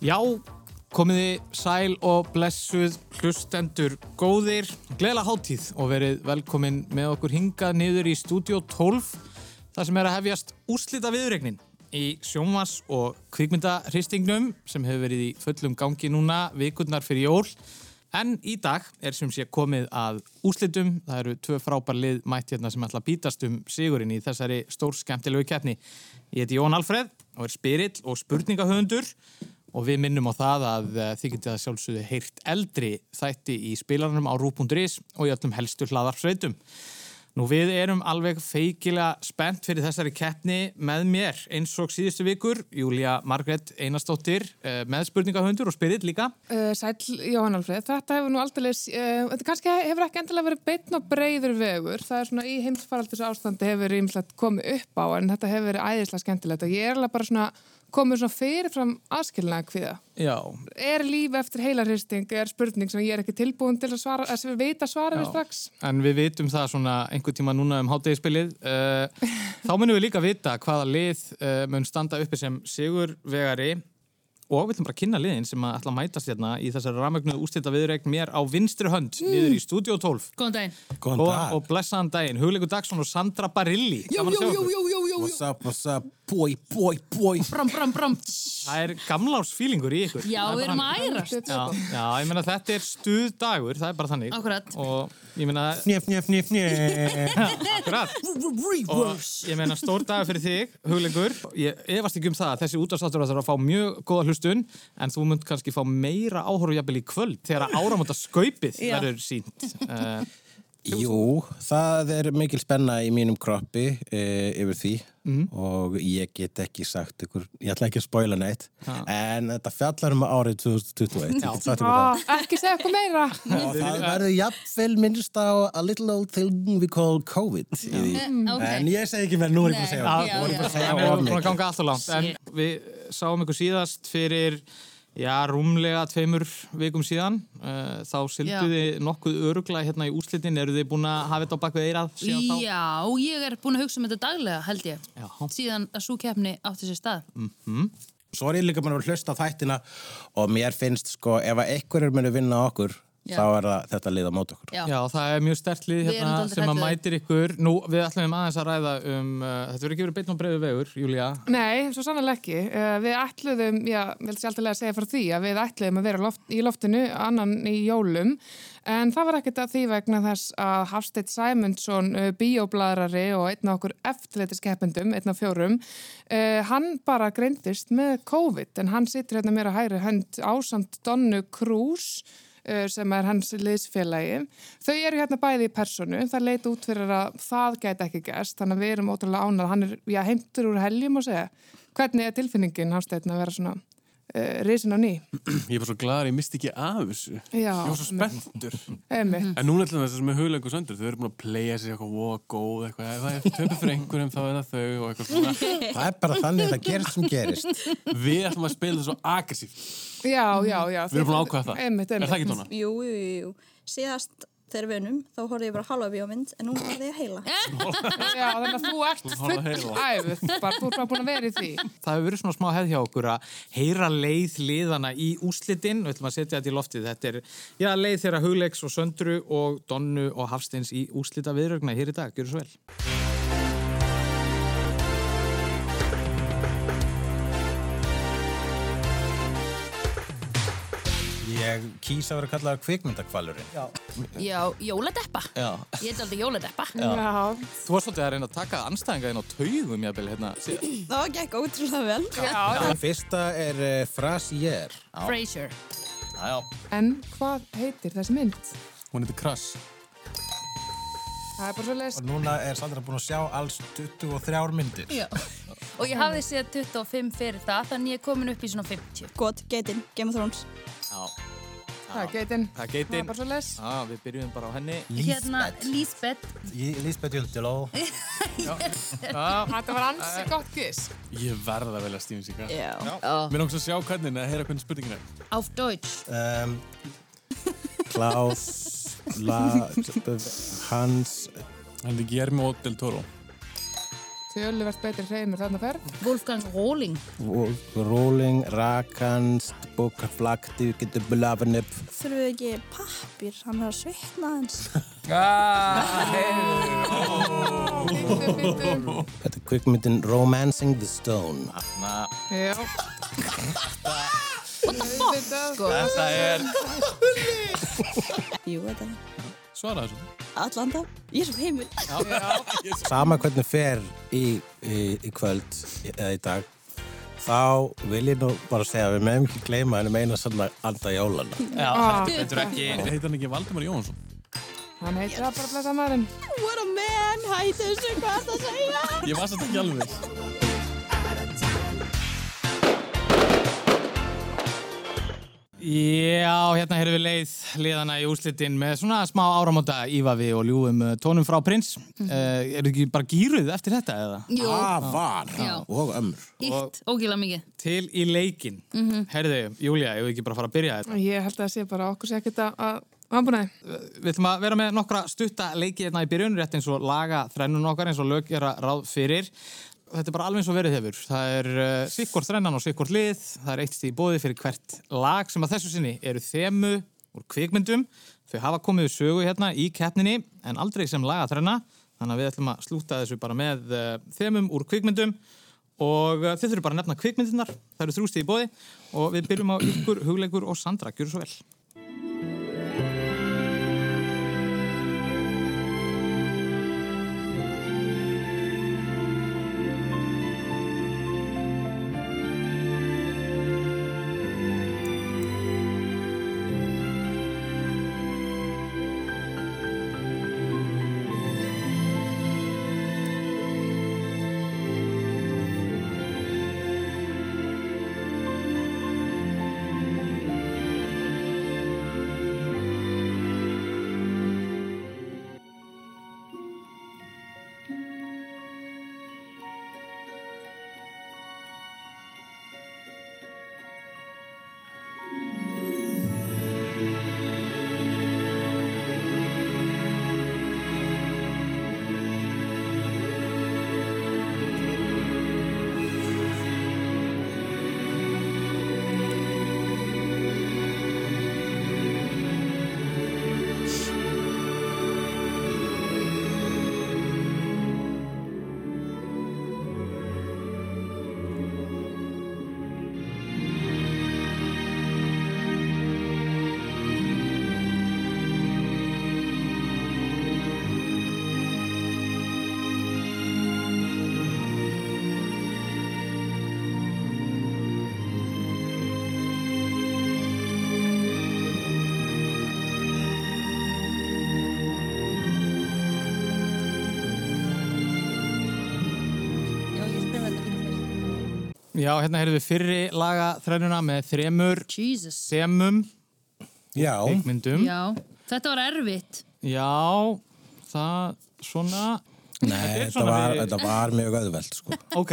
Já, komiði sæl og blessuð hlustendur góðir. Gleðla hátíð og verið velkomin með okkur hingað niður í Studio 12 þar sem er að hefjast úrslita viðregnin í sjónvars- og kvikmyndaristingnum sem hefur verið í fullum gangi núna vikurnar fyrir jól. En í dag er sem sé komið að úrslitum. Það eru tvö frábær lið mætt hérna sem ætla að bítast um sigurinn í þessari stórskemmtilegu keppni. Ég heiti Jón Alfreð og er spyrill og spurningahöfundur Og við minnum á það að eh, þið getið að sjálfsögðu heyrt eldri þætti í spilaranum á rú.is og í öllum helstu hlaðarsveitum. Nú við erum alveg feikilega spennt fyrir þessari keppni með mér eins og síðustu vikur, Júlia Margrét Einarsdóttir eh, með spurningahöndur og spyrill líka. Uh, sæl Jóhann Alfreð, þetta hefur nú aldrei, uh, þetta kannski hefur ekki endilega verið beitn og breyður vegur, það er svona í heimsfaraldis ástandi hefur ímslegt komið upp á en þetta hefur verið æðislega skemmtilegt og ég er alveg bara svona komið svona fyrirfram aðskilnaða kviða. Já, Er líf eftir heilarhristing, er spurning sem ég er ekki tilbúin til að svara, að sem við vita svara við Já. strax? en við vitum það svona einhver tíma núna um hátegispilið. Uh, þá munum við líka vita hvaða lið uh, mun standa uppi sem sigurvegari og við ætlum bara að kynna liðin sem að ætla að mætast hérna í þessari ramögnu ústýta viðreikn mér á vinstri hönd Mm. niður í Studio 12. Góðan daginn. Góðan Góðan dag. og blessaðan daginn, Hugleikur Dagsson og Sandra Barilli. Gaman að sjá ykkur. jú, jú, jú. What's up, what's up? Boy, boy, boy. Bram, bram, bram. Það er gamlársfílingur í ykkur. Já, Það er bara við erum þannig. að ærast. Já, já, ég meina þetta er stuð dagur, það er bara þannig. Akkurat. Og ég meina, Fnjöf, fnjöf, fnjöf, fnjöf. akkurat. og Reverse. ég meina stór dag fyrir þig, hugleikur ég efast ekki um það að þessi útastáttur þarf að fá mjög góða hlustun en þú munt kannski fá meira áhorf jafnvel í kvöld þegar áramóta skaupið Já. verður sínt uh, Jú, það er mikil spenna í mínum kroppi e, yfir því og ég get ekki sagt ykkur, ég ætla ekki að spoila neitt, en þetta fjallar um árið 2021. Já, það, Ah, ekki segja eitthvað meira. og það verður jafnvel minnst á a little old thing we call COVID. í því. ok. En ég segi ekki með, nú er ég búin að segja. Nei, það. já, Nú er ég búin að segja þannig að of við erum að mikið. ganga alltaf langt en við sáum ykkur síðast fyrir já, rúmlega tveimur vikum síðan uh, þá Já. sildu þið nokkuð örugla hérna í úrslitin, eru þið búin að hafa þetta á bakvið eirað síðan þá? Já, ég er búin að hugsa um þetta daglega, held ég. Já. Mm. Síðan að svo keppni átti sér stað. svo er ég líka bara að hlusta á þættina og mér finnst sko ef að einhverjur muni vinna okkur Já. þá er það þetta lið á mót okkur Já. Já, það er mjög sterkt lið Við erum hérna dálítið sem að hrædd við mætir ykkur. Nú, við ætlum aðeins að ræða um, uh, þetta verður ekki verið beinn og breiðu vegur, Júlia. Nei, svo sannlega ekki. Uh, við ætluðum, já, vel sér alltaf að segja frá því að við ætluðum að vera loft, í loftinu, annan í jólum, en það var ekkert að því vegna þess að Hafsteinn Sæmundsson, uh, bíóbladrari og einn af okkur eftirleitiskeppendum, einn af fjórum, uh, hann bara greindist með COVID, en hann situr hérna mér á hægri hönd ásamt Donnu Krús, eh, sem er hans liðsfélagi. Þau eru hérna bæði í personu, það leit út fyrir að það gæti ekki gerst, þannig að við erum ótrúlega ánað, hann er, já, heimtur úr heljum og segja, hvernig er tilfinningin Hafsteinn að vera svona uh, risin á ný? Ég er bara svo gladur, ég misti ekki af þessu. Já. Ég var svo spenntur. Emi. En núna ætlum við þessar með hugleikur söndur, þau eru búin að playa sér eitthvað, wow, góð, eitthvað, ef það er töpur fyrir einhverjum þá er það þau og eitthvað svona. það er bara þannig að það gerist sem gerist Við ætlum að spila það svo aggressíft. Já, já, já. Við erum búin að ákvæða það. Emi, Er það ekki tóna? Jú, jú, jú, jú. Síðast þegar við unum, þá horfði ég bara á halva bíómynd, en núna horfði ég á heila. Já, þannig að þú ert Þú horfði full æfð, bara þú ert bara búin að vera í því. Það hefur verið svona smá hefð hjá okkur að heyra leið liðana í úrslitin og við ætlum að setja þetta í loftið. Þetta er já, leið þeirra Hugleiks og Söndru og Donnu og Hafsteins í úrslita viðrögna hér í dag. Gjör svo vel. ég kýsa að vera kallaður kvikmyndakvalurinn já. Já, jóladeppa. Já. Ég er aldrei jóladeppa. Já, Þú var svolítið að reyna að taka anstæðinga inn á taugum, jafnvel, hérna. síðan. Það gekk ótrúlega vel. fyrsta er uh, frasier Frasier. en hvað heitir þessi mynd? Hún heitir Crush. Það er bara svo og núna er Sandra búin að sjá alls 23 myndir Já. Og ég hafði séð 25 fyrir það, þannig ég er komin upp í svona 50. Gott, geitin, Game of Thrones. það er geitin. Það er Það er geitin. bara svo les. Já, Ah, við byrjum bara á henni. Hérna, Lisbeth. Ég- Lisbeth Jöldiló Já, Þetta var ansi gott gisk. Ég verða vel að stífum sig hvað. Já. Mér langs að sjá hvernig, en að heyra hvernig spurningin er. Auf Deutsch. um, Klaus La, Hans Hann er Guillermo del Toro. Til töluvert betri hreimur þarna ferð. Wolfgang Rolling Wolf- Rolling, Rakanst, Bokaflakti, getur blafin upp. Þurfum við ekki pappir, hann er að svitna hans. Fyndu, fyndu. Þetta er kvikmyndin Romancing the Stone. Já. What the fuck? sko. Þetta er Jú, þetta er Svaraði þessu. Atlanta. Ég er svo heimil. Sama hvernig fer í, í, í kvöld eða í dag, þá vil ég nú bara segja að við meðum ekki gleyma henni meina svona anda jólana. Já, þetta er ekki Heitir hann ekki Valdimar Jónsson? Hann heitir það bara að blessa maðurinn. What a man, hætti þessu, hvað það segja? Ég var satt ekki alveg. Já, hérna hefur við leið liðana í úslitin með svona smá áramóta ívafi og ljúfum eh, tónum frá prins. Mm Eru ekki bara gýruð eftir þetta eða? Mm. Jú, Afar Já. Ah, og ömur. ítt, ógila mikið Til í leikin. Herðu, Júlia, ef við ekki bara fara að byrja þetta. Ég held að það sé bara okkur sé ekkert að- að vambunæði. Við ætlum að vera með nokkra stutta leiki hérna í byrjun, rétt eins og laga þrennun okkar eins og lög gera ráð fyrir. Þetta er bara alveg eins og verið hefur. Það er uh, sikkort þrennan og sikkort lið. Það er eitt stíð bóði fyrir hvert lag sem að þessu sinni eru þemu úr kvikmyndum. Þau hafa komið við sögu hérna í keppninni en aldrei sem laga þrenna. Þannig að við ætlum að slúta þessu bara með uh, þemum úr kvikmyndum og uh, þið þurfum bara að nefna kvikmyndirnar það eru þrjústi í bóði og við byrjum á ykkur, hugleikur og Sandra, gjör svo vel Já, hérna heyrðum við fyrri laga þrennuna með þremur Jesus semum Já, kvikmyndum Já, Já, þetta var erfitt það svona nei, er þetta svona var, við- þetta var mjög öðveld sko. ok,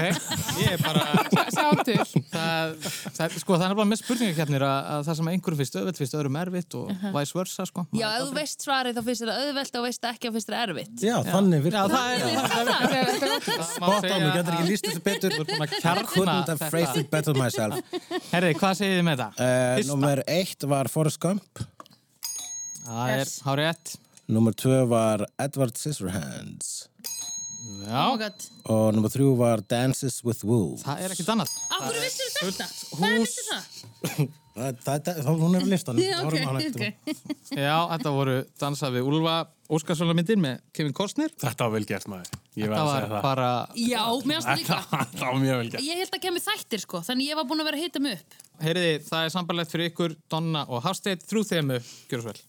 ég er bara Sátur. það, það, sko, það er bara með spurningakefnir að, að það sem einhverjum finnst öðvöld finnst öðrum erfitt og vice versa sko. Já, ef þú veist svarið þá finnst þetta auðvelt og veist það ekki þá finnst þetta erfitt Já, þannig virkar. Já, það er Þetta er- þetta er ótrúlegt. Bótt á mig, getur ekki lýst þessu betur. Þú ert búin að I couldn't kjarna have phrased it better myself. Herri, hvað segið þið með það? Eh. Uh, Fyrsta. númer eitt var Forrest Gump. Það er Yes. hárétt Númer tvö var Edward Scissorhands. Oh Já, my god Og númer þrjú var Dances with Wolves. það er ekkert annað Akkur vissir þetta? Hvað vissir það? Það, það, það, hún er við listanum. Já, Horfum á hana ok, eftir. ok Já, þetta voru dansa við Úlfa Óskarsvölamyndir með Kevin Costner Þetta var vel gert maður. Ég verð Það að var segja það. bara Já, mér ástu líka Þetta var mjög vel gert. Ég held að kemur þættir sko, þannig ég var búin að vera að hita mig upp Heyriði, það er sambarlegt fyrir ykkur Donna og Hafsteinn, þrjú þemu, gjör svo vel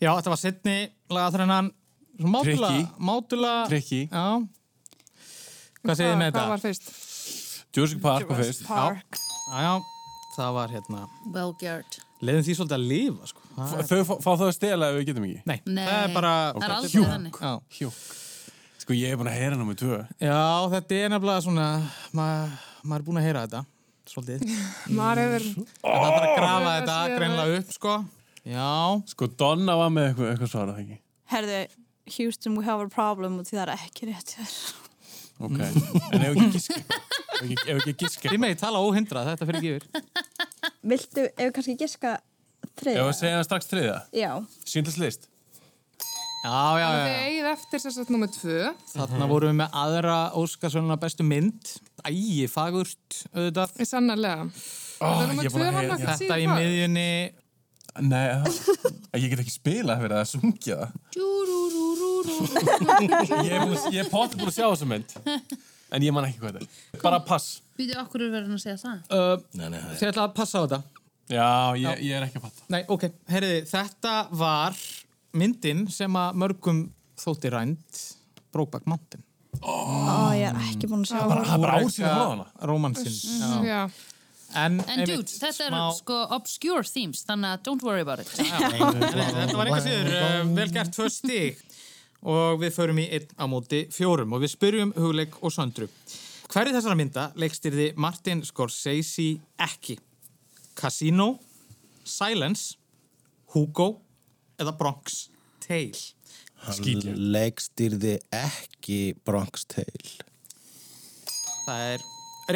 Já, þetta var setni lagaþrennan Mátula, Tricky. mátula Tricky. Já Hvað segir þið með Hvað þetta? var fyrst? Jurassic Park var fyrst Park. Já, já, það var hérna Well geared. Leiðum því svolítið að lifa sko. Það F- er- Þau fá, fá þau að stela ef við getum ekki Nei, Nei, það er bara það er aldrei Hjúk. þannig. Já. Hjúk Sko ég er búin að heyra námið tvö já, þetta er nefnilega svona maður maður er búinn að heyra þetta Svolítið Maður hefur, En það þarf að grafa Ég þetta sé það. greinlega upp sko Já, Sko Donna var með eitthvað, eitthvað svarað ekki Herðu, Houston, we have a problem og því það er ekki rétt hjá þér. Ok En ef ekki gíska Ef ekki, ef ekki gíska þið megið tala óhindrað, þetta fyrir ekki yfir Viltu, ef við kannski giska Ef þriðja? að segja það strax þriða Já, Sýndlis list Já, já, já, þið já. eigið eftir sér satt nummið tvö. Þarna vorum við með aðra Óskarsvöluna bestu mynd Ægi, fagurt, auðvitað Sannarlega. oh, er númer tvö hann að- Þetta Síðan í hvað? miðjunni Nei það- Ég get ekki spilað fyrir að sungja það Ég er, búin að- ég er potið búin að sjá þessu mynd En ég man ekki hvað þetta er Bara pass Býtu, okkur er verið að segja það? uh, Nei, nei, nei. Þið ætlaði að passa á þetta Já, ég, ég er ekki að patta Nei, ok, heyriði, þetta var myndin sem að mörgum þótti rænd Brokeback Mountain ó, ég er ekki búin að sjá það. Það er bara ársýðan frá hana Rómansinn já. Já. En, En dude, þetta er sko obscure themes, þannig að don't worry about it. Þetta var eitthvað síður, uh, vel gert tvö stig og við förum í einn á móti fjórum og við spyrjum hugleik og söndru. Hverju þessara mynda leikstýrði Martin Scorsese ekki? Casino, Silence, Hugo eða Bronx Tale? Skýt ég. Leikstýrði ekki Bronx Tale. Það er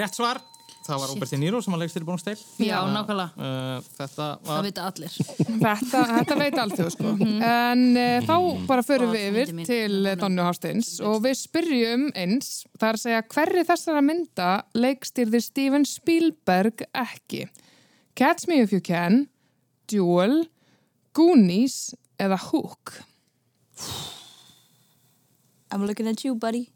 rétt svar. Það var Robert De Niro sem var leikstýrði Bronx Tale. Já, nákvæmlega. Uh, þetta Það var... vita allir. Þetta, þetta veit allt þau sko. En uh, þá bara förum við Uppáhaldsmyndin yfir mín. til eh, Donnu Hásteins og við spyrjum eins, það er að segja hverri þessara mynda leikstýrði Steven Spielberg ekki? Catch Me If You Can, Duel, Goonies eða Hook? I'm looking at you, buddy.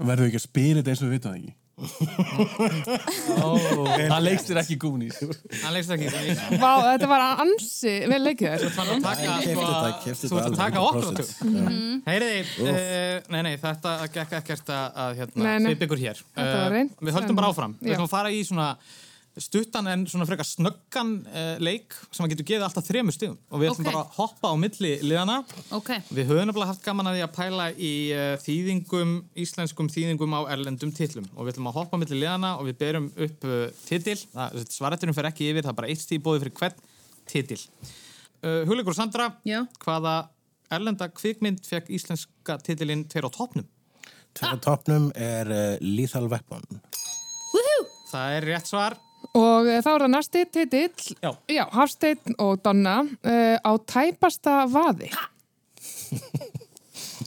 Verður ekki að spila þetta eins og við vitum það ekki Ó, Það leikst þér ekki gúnís hann leikstýrði ekki. Hann leikstýrði Vá, þetta var ansi vel leikið þér. að taka, Ég sko, kefti þetta, kefti þú þetta ert að taka okkur á tök. 100%. Já. Heyriði, uh, nei, nei, þetta gekk ekkert að, að hérna, Nei, nei. við byggur hér. Þetta Eh, var reynt, Við höldum en- bara áfram. Við Já. ætlum að fara í svona stuttan en svona frekar snöggan uh, leik sem að getur gefið alltaf þremur stigum og við ætlum Ok. bara að hoppa á milli liðana. Ok, Við höfum nefnilega haft gaman að því að pæla í uh, þýðingum, íslenskum þýðingum á erlendum titlum og við ætlum að hoppa á milli liðana og við berum upp uh, titil, Það- svarætturinn fer ekki yfir, það er bara eitt stíð bóði fyrir hvern titil. Uh, Hugleikur og Sandra, Já. hvaða erlenda kvikmynd fekk íslenska titilinn tveir á topnum? Ah. Tveir á toppnum er uh, Lethal Weapon. Það er rétt svar. Og eh, þá er það næsti titill, Já. já Hafsteinn og Donna, uh, á tæpasta vaði.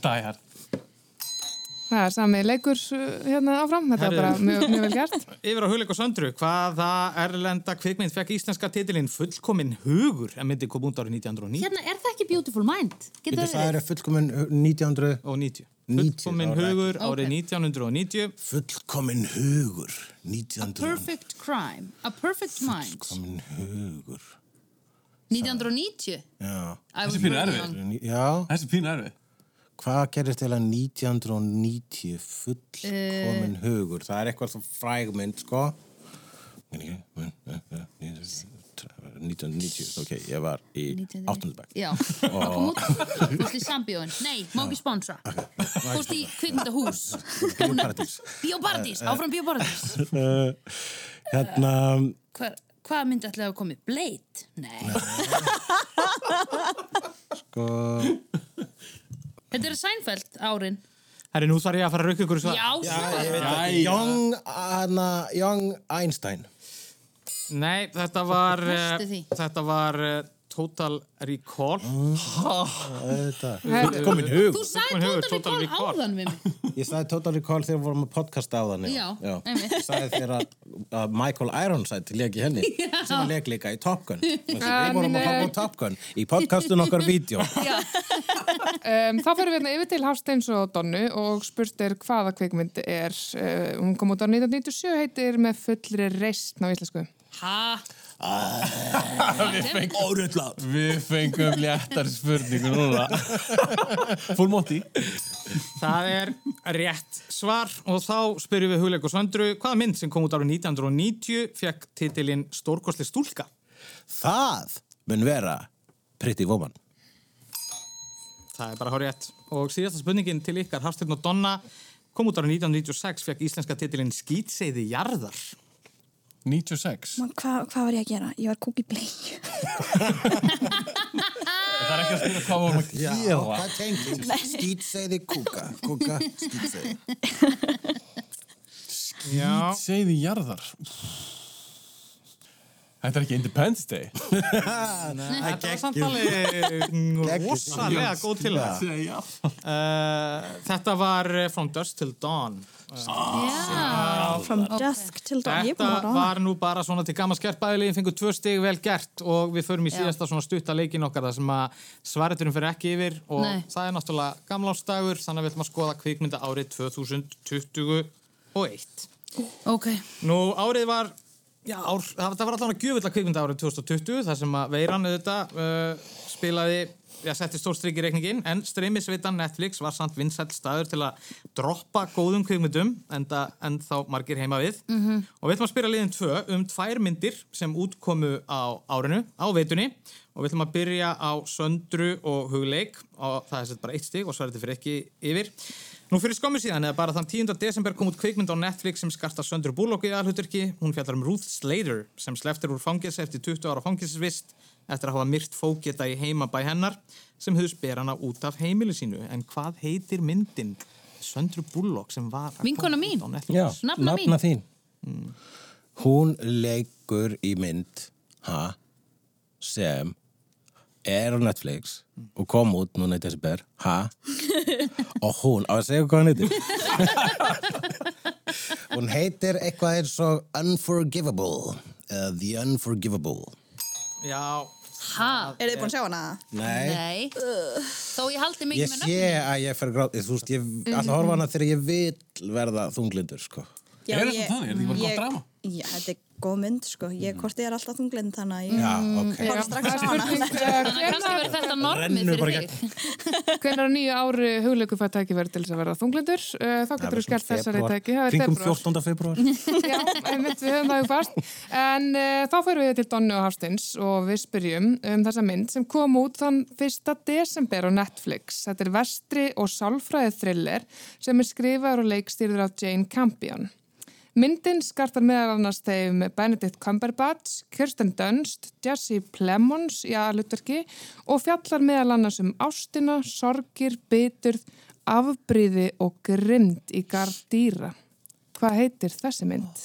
Die hard Það er sami leikur eh, hérna áfram, þetta Herðu. var bara mjög, mjög vel gert. Yfir á Hugleik og Söndru, hvaða erlenda kvikmynd fekk íslenska titilinn fullkominn hugur en myndi kom út árið 1909 hérna er það ekki Beautiful Mind? Getur Þetta það það verið? er fullkomin 1900, og 90. 90, Fullkominn það var hugur árið Ok. 1990 fullkomin hugur. 1900, Perfect Crime, A Perfect Mind, fullkomin hugur. 1990. Já. I was Þessi pínu very erfið. young. Já, Þessi pínu erfið hvað gerist til að 1990 Eh. fullkomin hugur? Það er eitthvað svo frægmynd, sko. 1990, ok, ég var í 8. bekk. Já, það kom út Fórst í sambíóin, nei, má ekki sponsra Fórst í kvikmyndahús Bíóparadís. Bíóparadís, Eh, áfram Bíóparadís Uh, Hérna, Hver- Hvað myndi ætlaði að komið? Blade? Nei, sko, þetta er Seinfeld árin Herri, nú þarf ég að fara að rauka ykkur svar. Já, svo Young, Anna, Young Einstein. Nei, þetta var, eh, Næstu því. þetta var eh, Total Recall. Þetta. Herðu. Komin hug. Þú sagði Hún hefur Total Total Recall Recall. áðan við mig Ég sagði Total Recall þegar við vorum að podcasta á þannig. Já, einmitt. Ég sagði þér að, að Michael Ironside legi henni, sem hann legi líka í Top Gun. Við vorum að hoppa á Top Gun í podcastun okkar vídeo. Já, Um, þá fyrir við hérna yfir til Hafsteins og Donnu og spurt er hvaða kvikmynd er. eh, Uh, hún kom út á 1997, heitir með fullri reist á íslensku. ha, Við fengum, Óréttlát við fengum léttar spurningu núna Full Monty Það er rétt svar og þá spyrjum við Hugleik og Söndru hvaða mynd sem kom út árið 1990 fekk titilinn Stórkostli stúlka? Það mun vera Pretty Woman Það er bara hár rétt. Og síðasta spurningin til ykkar, Hafsteinn og Donna kom út árið 1996 fekk íslenska titilinn Skýtseiði jarðar. 96 Man, hva, hvað var ég að gera? Ég var kúk í bleið. Það er ekki að spila hvað vorum að Já, gera hvað tengið? Skýtseiði kúka, kúka, skýtseiði Já. Segði jarðar Þetta er ekki Independence Day Þetta var samt alveg mm, rosalega góð til það. Segði jarðar Uh, þetta var eh, From Dusk Till Dawn. Já, From dusk till dawn, ég er Þetta búin að ráða var nú bara svona til gaman skert bæðilegin, fengur tvö stig vel gert og við förum í síðasta svona stutta leikin okkar þar sem að svareturum fyrir ekki yfir og Nei. það er náttúrulega gamlástagur þannig að við ætlum að skoða kvikmynda árið 2021. ok. Nú, árið var, já, ár, það það var allan að gjöfulla kvikmynda árið 2020, þar sem að veiran auðvitað uh, spilaði, já, setti stór strik í reikningin, en streymisveitan Netflix var samt vinsæll staður til að droppa góðum kvikmyndum, en, en þá margir heima við. -hmm. Og við ætlum að spila liðin tvö um tvær myndir sem útkomu á árinu, á veitunni, og við ætlum að byrja á söndru og hugleik, og það er sett bara eitt stig og svarið fyrir ekki yfir. Nú fyrir skömmu síðan eða bara þann 10. desember kom út kvikmynd á Netflix sem skarta Söndur Bullock í aðhluturki. Hún fjallar um Ruth Slater sem sleftir úr fangis eftir 20 ára fangisvist eftir að hafa myrt fókjeta í heimabæ hennar sem höfðu spyr hana út af heimili sínu. En hvað heitir myndin Söndur Bullock sem var að koma Vinkona út mín. á Netflix? Já, Nafna mín. þín Mm. Hún leikur í mynd ha, sem er á Netflix og kom út núna í desember ha, og hún á að segja hvað hún heitir Hún heitir eitthvað eins og Unforgivable uh, The Unforgivable Já, Ha, Er þið búin að sjá hana? Nei, nei. Þó ég haldi ég mikið með sé að ég fer að gráta Þú veist, ég alltaf Mhm. horfa á hana þegar ég vil verða þunglindur sko. Já, Er þetta þannig? Er þetta ekki bara gott ég- drama? Mm. Já, þetta er góð mynd, sko. Ég korti er alltaf þunglind, þannig að ég Já, Ah, ok Mm, fór strax á hana. eh, nafnum. Kannski verður þetta normið Rennur bara fyrir þig. Hvernig á nýju ári hugleiku fætt tæki verið til þess að verða þunglindur? Eh, Þá getur við skellt þessari tæki. Það er Kringum febrúar. 14. februar Já, einmitt, við höfum það í fast. En uh, þá fyrir við til Donnu og Hafstins og við spyrjum um þessa mynd sem kom út þann 1. desember á Netflix. Þetta er vestri og sálfræði thriller sem er skrifaður og leikstýrður af Jane Campion. Myndin skartar meðal annars þeim Benedict Cumberbatch, Kirsten Dunst, Jesse Plemons í aðlutverki og fjallar meðal annars um ástina, sorgir, biturð, afbríði og grind í garð dýra. Hvað heitir þessi mynd?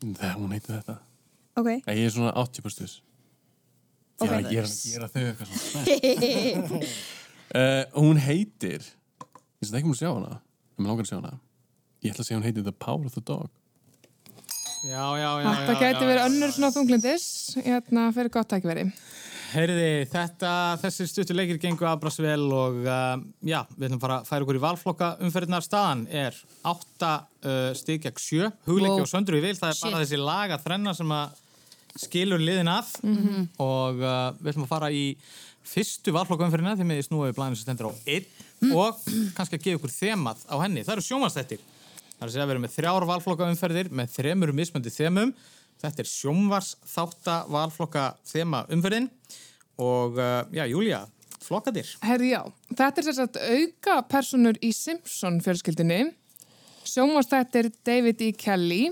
Þegar hún heitir þetta Ok. Nei, Ég er svona 80 pústus Ég er að gera, gera þau eitthvað svona uh, Hún heitir Ég veist ekki mér að sjá hana Ég mér langar að sjá hana Ég ætla að segja hún heitir The Power of the Dog já, já, já. Þetta já, gæti já. verið önnur svona þunglindis, hérna fyrir gott tækveri. Heyrði, þetta, þessir stuttu leikir gengu afbrás vel og uh, já, við ætlum bara að færa okkur í valflokka umferðinar staðan er 8 uh, stig gegn 7, hugleiki Wow. og söndru í vil, það er bara Shit. þessi laga þrenna sem að skilur liðin að Mhm. og uh, við ætlum að fara í fyrstu valflokka umferðina því með því snúið blæðinu sem stendur á 1 Mm. og kannski að gefa ykkur þemað á henni, það eru sjómanstættir það er að segja að við erum með þrjár valflokka umferðir með þremur mismöndi þemum þetta er sjómvars þátta valflokka þema umferðin og uh, já, Júlia, flokkadir Herri já, þetta er sér sagt auka personur í Simpson fjölskyldinni, sjónvastættir David E. Kelly,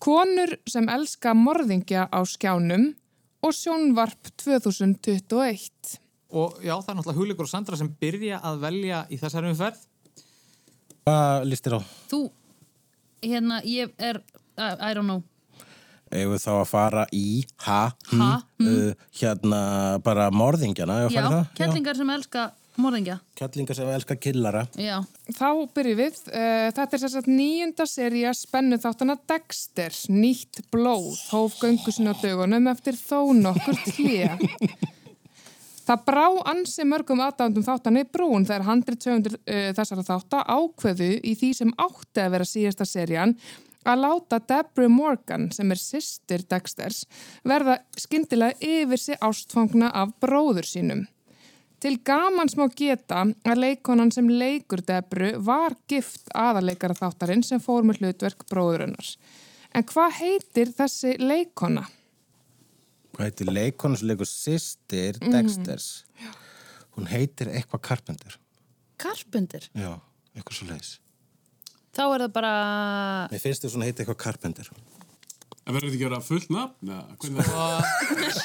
konur sem elska morðingja á skjánum og sjónvarp 2021. og já, það er náttúrulega Hugleikur og Sandra sem byrja að velja í þessari umferð Hvað listir á? Þú, hérna, ég er, I I don't know. Ef við þá að fara í ha, hm, Ha, Uh, hérna bara morðingjana ef við Já, farið það? kellingar sem elska morðingja. Já, Kellingar sem elskar killara Já, Þá byrjum við. Eh, Þetta er sérstaklega nýjunda seria spennu þáttana Dexter, nýtt blóð, hóf göngu sinna á dögunum eftir þó nokkur tlja. Það brá ansi mörgum aðdándum þáttan við brún þegar eh, handrit höfundur uh, þessara þátta ákveðu í því sem átti að vera síðasta serían að láta Deborah Morgan, sem er sýstir Dexters, verða skyndilega yfir sig ástfangna af bróður sínum. Til gamans má geta að leikonan sem leikur Debru var gift aðarleikara þáttarinn sem fór með hlutverk bróðurinnar. En hvað heitir þessi leikona? Hvað heitir leikonu sem leikur sýstir Mhm. Dexters? Hún heitir eitthvað Carpenter. Karpundir? Já, eitthvað svo leiðis. Þá er það bara... Mér finnst þess að hún heitir eitthvað Carpenter. Það verður ekki að vera fullt nafn? eða Hvernig Miss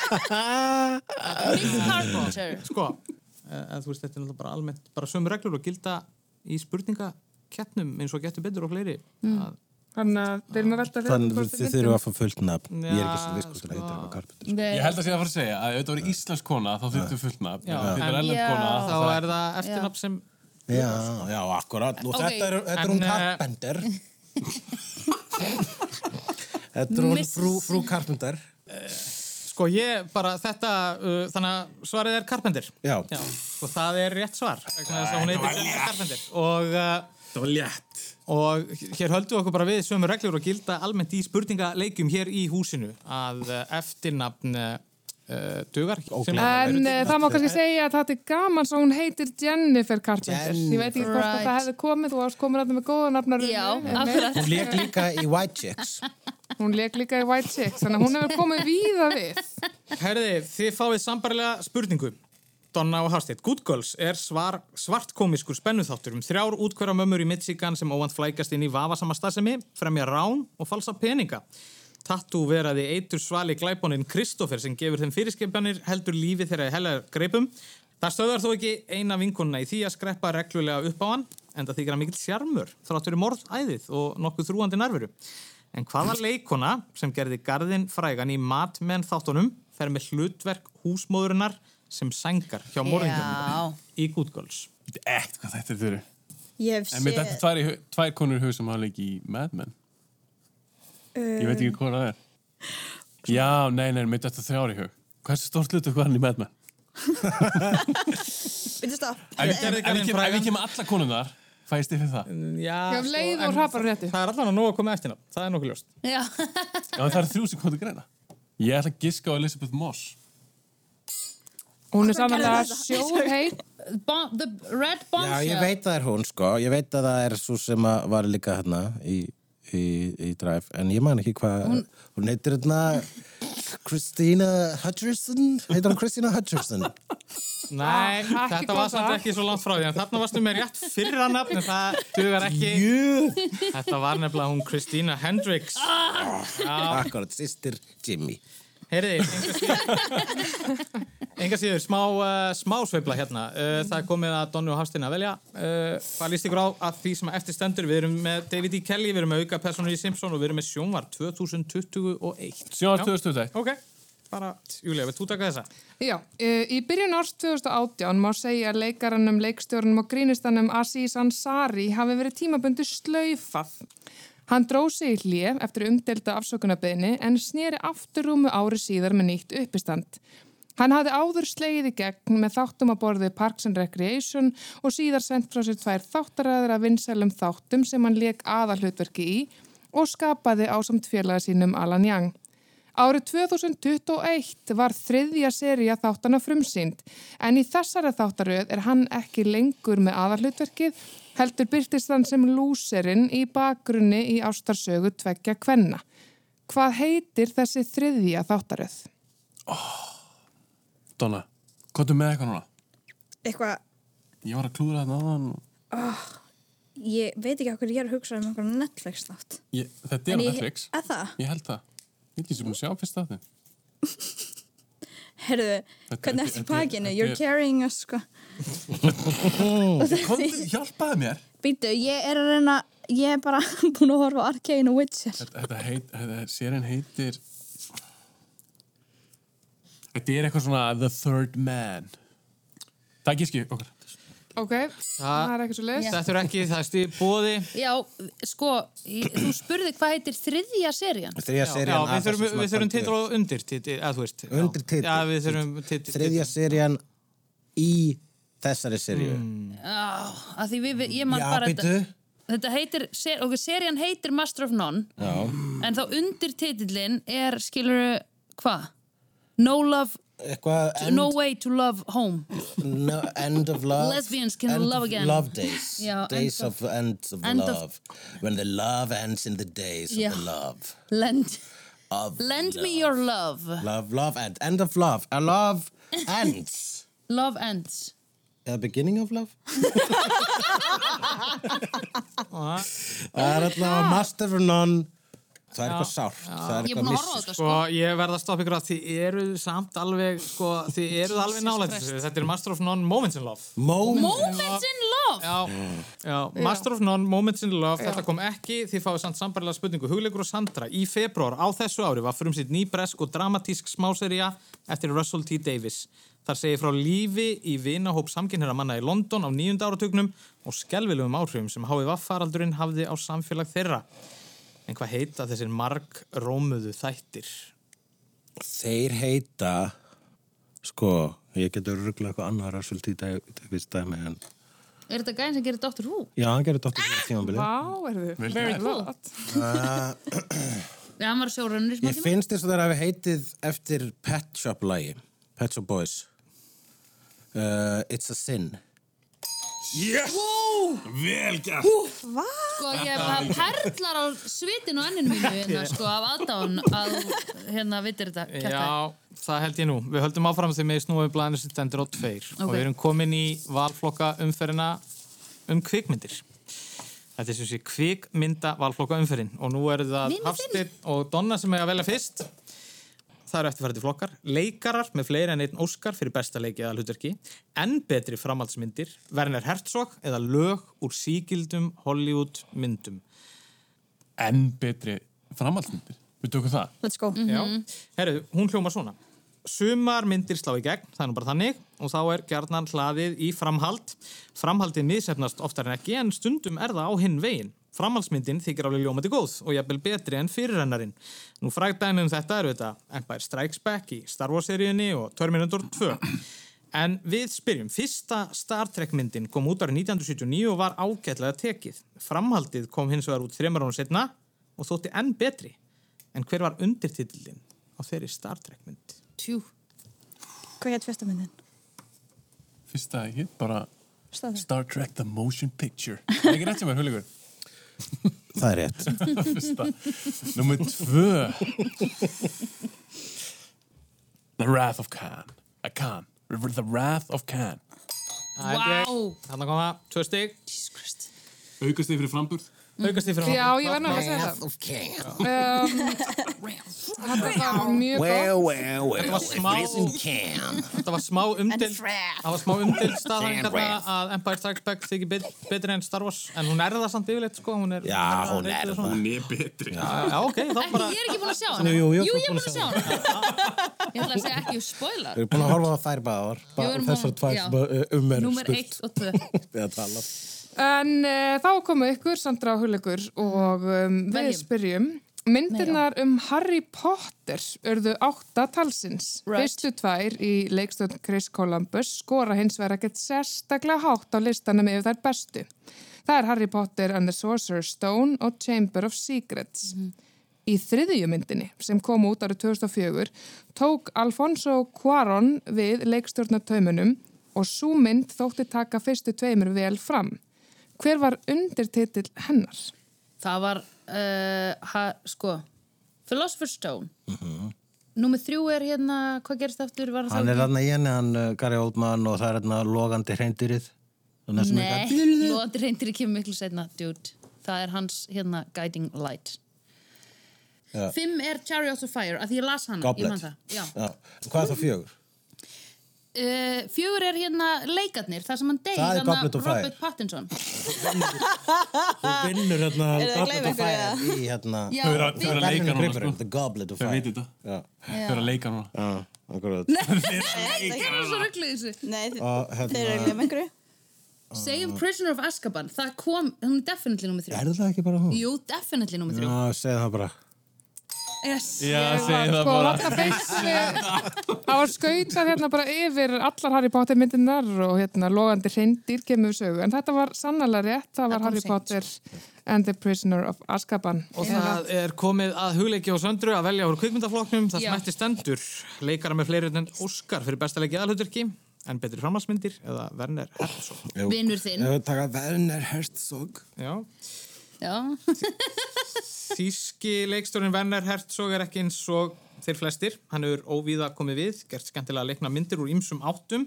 Carpenter. Sko, en þú veist, þetta er náttúrulega bara almennt bara sömu reglur og gilda í spurningakettnum eins og getur betur og fleiri að Þannig að þeir eru að velta fyrir Þannig hvort að þeir þið viti. þurfum að fá fullt nafn. Ég er ekki Já, svo viss hvort það heitir eitthvað Carpenter. Nei. Ég held að sé að fara að segja að ef þetta voru íslensk kona þá þurftu fullt nafn. Já. Ef þetta er En- erlend kona Já. þá það- er það eftirnafn sem Já, já, akkurat. Nú, Ok, þetta er, þetta er en, hún eh, Carpenter. þetta er hún Mrs. frú, frú Carpenter. sko ég bara þetta uh, þannig að svarið er Carpenter Já. Já, og það er rétt svar vegna þess að hún heitir Linda Carpenter og, uh, Það var létt. og hér höldum við okkur bara við sömu reglur og gilda almennt í spurningaleikjum hér í húsinu að uh, eftirnafn uh, dugar sem- En uh, það má kannski segja að þetta er gaman svo hún heitir Jennifer Carpenter. Ég veit ekki hvort að Right. það hefði komið, þú varst komin að það með góða nafnar. Já, akkurat. Hún leik líka í White Chicks. Hún leik líka í White Chicks, þannig að hún hefur komið víða við. Herði, þið fáið sambarlega spurningu. Donna og Hafstedt, Good Girls er svar, svartkomiskur spennuþáttur um þrjár útkværa mömmur í Michigan sem óvand flækast inn í vafasama staðsemi, fremja rán og falsa peninga. Tattoo veraði eitur svali glæbónin Kristoffer sem gefur þeim fyrirskipjanir heldur lífi þeirra í helgar greipum. Það stöðar þó ekki eina vinkunna í því að skreppa reglulega upp á hann, en það þykir að mikill sjarmur, þráttur í morðæðið og nokkuð þrúandi nærveru. En hvaða leikona sem gerði garðin frægan í matmenn þáttunum fer með hlutverk húsmóðurinnar sem sængar hjá morðingunum í Good Girls? Þetta er ekkert hvað þetta er þurru. Ég hef En mér þetta séð tvær, í hug- tvær konur í hug sem hafa leikið í Mad Men. Ég veit ekki hvað það er. Já, nei, nei, mér þetta þrjár í hug. Hversu stórt hlutu hvað hann í Mad Men? Bíddu, stopp. Ef ég gerði kem- ef ég kem- ef ég kem alla konunar, fæ ég stifið það. Já, sko, Já, um leið og en hrapar réttu. Það er allan að nóg að koma eftir hana, það er nokkuð ljóst. Já. Já, en það er þrjú sem komið til greina. Ég ætla að giska á Elizabeth Moss. Hún er samanlega sjóheit Bo the Red Já, Bombshell. ég veit að það er hún, sko. Ég veit að það er svo sem að var líka hérna í, í, í Drive. En ég man ekki hvað... Hún, heitir hérna... Christina Hutcherson? Heitir hún Christina Hutcherson? Nei, Ah, ekki þetta var góð samt dag. ekki svo langt frá því, en þarna varstu með rétt fyrra nafn, en það dugar ekki. Jú! Þetta var nefnilega hún Kristína Hendricks. Akkurat, sýstir Jimmy. Heyriði, enga síður, enga síður smá, uh, smá sveifla hérna. Uh, það er komið að Donni og Hafstein að velja. Uh, hvað líst ykkur á að því sem eftir stendur? Við erum með David E. Kelly, við erum með auka personur í Simpson og við erum með sjónvar 2021. Sjónar 2001. Ok, bara, Júlia, vilt þú taka þessa? Já, eh, í byrjun árs 2018 má segja að leikaranum, leikstjórnum og grínistanum Aziz Ansari hafi verið tímabundi slaufað. Hann dró sig í hlje eftir umdelta afsökunarbeini en sneri aftur rúmu ári síðar með nýtt uppistand. Hann hafði áður slegið í gegn með þáttum að borði Parks and Recreation og síðar sendt frá sér tvær þáttaræðir af vinsælum þáttum sem hann leik aðalhutverki í og skapaði ásamt félaga sínum Alan Young. Árið 2021 var þriðja seria þáttana frumsýnd en í þessari þáttaröð er hann ekki lengur með aðarhlutverkið heldur byrtist hann sem lúserinn í bakgrunni í ástarsögu tveggja kvenna. Hvað heitir þessi þriðja þáttaröð? Donna, komdu með eitthvað núna. Eitthvað, Ég var að klúðra þarna aðan. ég veit ekki okkur ég er að hugsa um einhverjum Netflix þátt. Ég, þetta er á En ég- Netflix. Að það? Ég held það. Ég er sem búin að sjá fyrst þáttinn. Herðu, hvernig þetta- ertu þetta- pakinu? þetta You're er- carrying us, sko. Komdu, hjálpaðu mér. Býtu, ég er að reyna, ég er bara búin að horfa á Arcane og Witcher. Þetta, þetta, heit, þetta sérinn heitir... Þetta er eitthvað svona The Third Man. Það gíski okkar. Ok, það er ekki svo leiðis. Þetta er ekki, það er stíð bóði. Já, sko, ég- þú spurði hvað heitir þriðja serían. Þriðja Já, serían við þurfum, við þurfum titil og undir titil, eða þú veist. já. Undir titil. Já, við þurfum titil. Þriðja serían í þessari seríu. Hmm. Af því við, við- ég man Oh. Já, bara... býtu. Þetta heitir, ser, ok, serían heitir Master of None Já. en þá undir titillin er, skilur hvað? No love Eitthvað end, No way to love home no, end of love. Lesbians can end love of again. Love days. Já, days end of, end of end of- love. When the love ends in the days Já. of the love. Lend, Of lend love. me your love Love, love end. End of love. A love ends. Love ends The beginning of love. Ah, Það er alltaf master of none. Það er eitthvað sárt. Það er Ég er búin eitthvað að horfa á miss. þetta Sko, sko ég verð að stoppa ykkur að þið eruð samt alveg, sko, þið eruð alveg nálægt þessu. Þetta er Master of None Moments in Love. Moment. Moments in love Já, já, Master of None, Moments in Love, þetta kom ekki, þið fáið samt sambarilega spurningu. Hugleikur og Sandra, í februar á þessu ári var fyrir um sitt nýbresk og dramatísk smáserja eftir Russell T. Davis. Þar segir frá lífi í vinahóp samkynherra manna í London á nýjunda áratugnum og skelvilegum áhrifum sem HVV-faraldurinn hafði á samfélag þeirra. En hvað heita þessir marg rómuðu þættir? Þeir heita, sko, ég getur ruggla eitthvað annað Russell T. Davies dæmi en... Er þetta gæðin sem gerir Dr. Who? Já, hann gerði dóttir fyrir tímabilið. Vá, er þið? Very cool. Já, hann var sjórunur í smá Ég tíma finnst þess að þeir hafi heitið eftir Pet Shop lagi, Pet Shop Boys. Uh, it's a sin. Yes! Vel gert! Sko, ég það perlar á svitin og enninu mínu hérna, sko, af aðdáun að hérna vitir þetta kjartaði. Já, það held ég nú. Við höldum áfram þegar með snúið blæðinu sitt endur á tveir og Ok. við erum komin í valflokka umferðina um kvikmyndir. Þetta er sem sé kvikmynda valflokka umferðin og nú eru það Vinur þinn. Hafsteinn og Donna sem eiga að velja fyrst. Það eru eftirfærandi flokkar. Leikarar með fleiri en einn Óskar fyrir besta leiki eða hlutverki. Enn betri framhaldsmyndir, Werner Herzog eða lög úr síkildum Hollywood myndum. Enn betri framhaldsmyndir. Við tökum það. Let's go. Mm-hmm. Já, herru, hún hljómar svona Sumar myndir slá í gegn, það er nú bara þannig og þá er gjarnan hlaðið í framhald Framhaldið miðsefnast oftar en ekki en stundum er það á hinn veginn Framhaldsmyndin þykir alveg ljómandi góð og jafnvel betri en fyrirrennarinn Nú frægt dæmi um þetta eru þetta Empire Strikes Back í Star Wars-seríunni og Terminator 2 En við spyrjum, fyrsta Star Trek myndin kom út árið 1979 og var ágætlega tekið. Framhaldið kom hins vegar út þreymar ára setna og þótti enn betri. En hver var undirtitillin á þeirri Star Trek mynd? Tjú. Hvað hétt fyrsta myndin? Fyrsta hitt bara Staðfest. Star Trek The Motion Picture. Það er ekki rétt sem er huligur. Það er rétt. Fyrsta. Númer tvö. The Wrath of Khan. A Khan. The Wrath of Khan. Vá! Þannig kom það, tvö stygg. Jesus Christ. Aukast þið fyrir framburð? Mm. Aukast í fyrir Já, ég var náttúrulega að segja það. of King. Þetta var mjög gott. Well, well, well. var smá- If this can. Þetta var smá umdild, það var smá umdild staðhæng And þarna Wrath. að Empire Strikes Back þykir bet- betri en Star Wars. En hún er það samt yfirleitt, sko. Hún er, Já, hún er reituð og það. svona. Hún er betri. Já. Já, ok, þá Ekki, bara... ég er ekki búin að sjá hana. Jú, jú, jú, jú ég þú er ert búin að sjá hana. Ég ætla að segja ekki um ég spoilar. Við erum búin að horfa á þær báðar. Við erum Þessar búin- tvær já. sem uh, um er Númer spurt. 1 og 2. Við að tala. En uh, þá komu ykkur, Sandra og Hulikur og um, við Mhm. Veljum. spyrjum Myndirnar um Harry Potter urðu átta talsins. Right. Fyrstu tvær í leikstönd Chris Columbus skora hins vera ekkert sérstaklega hátt á listanum yfir þær bestu. Það er Harry Potter and the Sorcerer's Stone og Chamber of Secrets. Mhm. Í þriðju myndinni sem kom út árið 2004 tók Alfonso Cuarón við leikstjórnartaumunum og svo mynd þótti taka fyrstu tveimur vel fram. Hver var undirtitill hennar? Það var, uh, ha, sko, Philosopher's Stone. Númer þrjú er hérna, hvað gerist aftur? Var það Hann er þarna í henni, hann uh, Gary Oldman og það er þarna logandi hreindýrið. Nei, Lóðandi reyndir ekki miklu setna, dude. Það er hans, hérna, Guiding Light. Já. Fimm er Chariots of Fire, að því ég las hana, ég man Goblet. það. Já. Já. Hvað er það fjögur? Uh, fjögur er hérna leikarnir, þar sem hann deyr, Það er þarna Goblet of Fire. Robert Pattinson. Þú vinnur hérna þið að Goblet gleyma of Fire í hérna... Já, Þau eru að- þau eru að Verðinum leika núna, gripurinn, sko. The Goblet of Þau Fire. veitir þetta. Já, Þau eru að leika núna. já, akkurat. það er svo rugglið þessu. Nei, þi- Og þeir eru hérna... ekki með einhverju. Segjum Prisoner of Azkaban, það kom, hún er definitely nummið þrjú. Er það ekki bara hún? Jú, definitely nummið Já, þrjú. segð það bara. Yes. Já, Ég segi var það sko bara. vatna feist Það var skautar hérna bara yfir allar Harry Potter myndirnar og hérna logandi hreindir kemur við sögu en þetta var sannlega rétt, það var kom Harry seint. Potter and the Prisoner of Azkaban Og það er komið að hugleiki og söndru að velja úr kvikmyndafloknum það sem Já. ætti stendur. Leikara með fleiri en Óskar fyrir besta leikið aðhaldurki, en betri framhansmyndir eða Werner Herzog. Vinur þinn. Ef við taka Werner Herzog Já. Já. Þíski leikstjórin Werner Herzog er ekki eins og þeir flestir. Hann hefur óvíða komið við, gert skemmtilega að leikna myndir úr ýmsum áttum.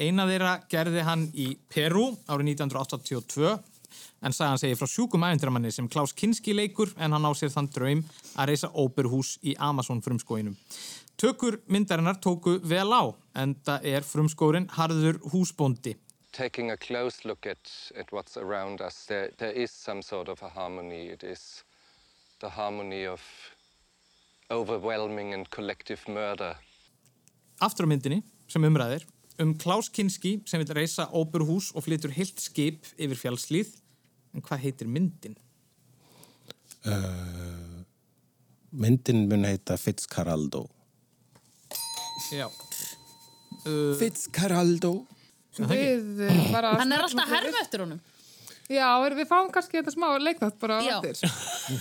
Eina þeirra gerði hann í Peru árið 1982 en sagði hann segi frá sjúkum ævendramanni sem Klaus Kinski leikur en hann á sér þann draum að reysa óperhús í Amazon frumskóinum. Tökur myndarinnar tóku vel á en það er frumskórin Harður Húsbóndi. taking a close look at, at what's around us, there, there is some sort of a harmony. It is the harmony of overwhelming and collective murder. aftur á myndinni sem umræðir um Klaus Kinski sem vil reysa óperuhús og flytur heilt skip yfir fjallslíð en hvað heitir myndin? Uh, Myndin mun heita Fitzcarraldo Já, Uh, Fitzcarraldo Við eh, bara Hann er alltaf að herma eftir honum. Já, er, við fáum kannski þetta smá leikþátt bara á Já. eftir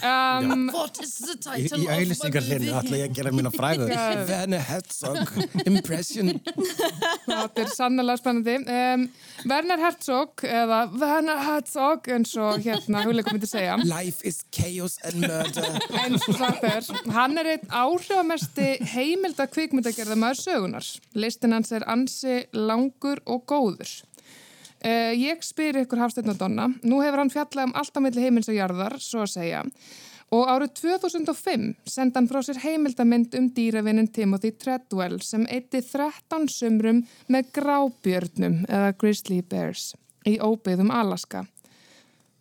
um, What is the Í, title of í my auðlýsingarlinu ætla ég að gera mína fræðu Werner Herzog Impression Þetta er sannlega spennandi um, Werner Herzog eða Werner Herzog eins og hérna hugleikum myndi segja Life is chaos and murder eins og sagt er, hann er einn áhrifamesti heimilda kvikmyndagerðamaður sögunar. Listin um hans er ansi langur og góður. Uh, ég spyr ykkur Hafsteinn og Donna, nú hefur hann fjallað um allt á milli heimils og jarðar, svo að segja. Og árið 2005 sendi hann frá sér heimildamynd um dýravinin Timothy Treadwell sem eitti 13 sumrum með grábjörnum eða grizzly bears í óbyðum Alaska.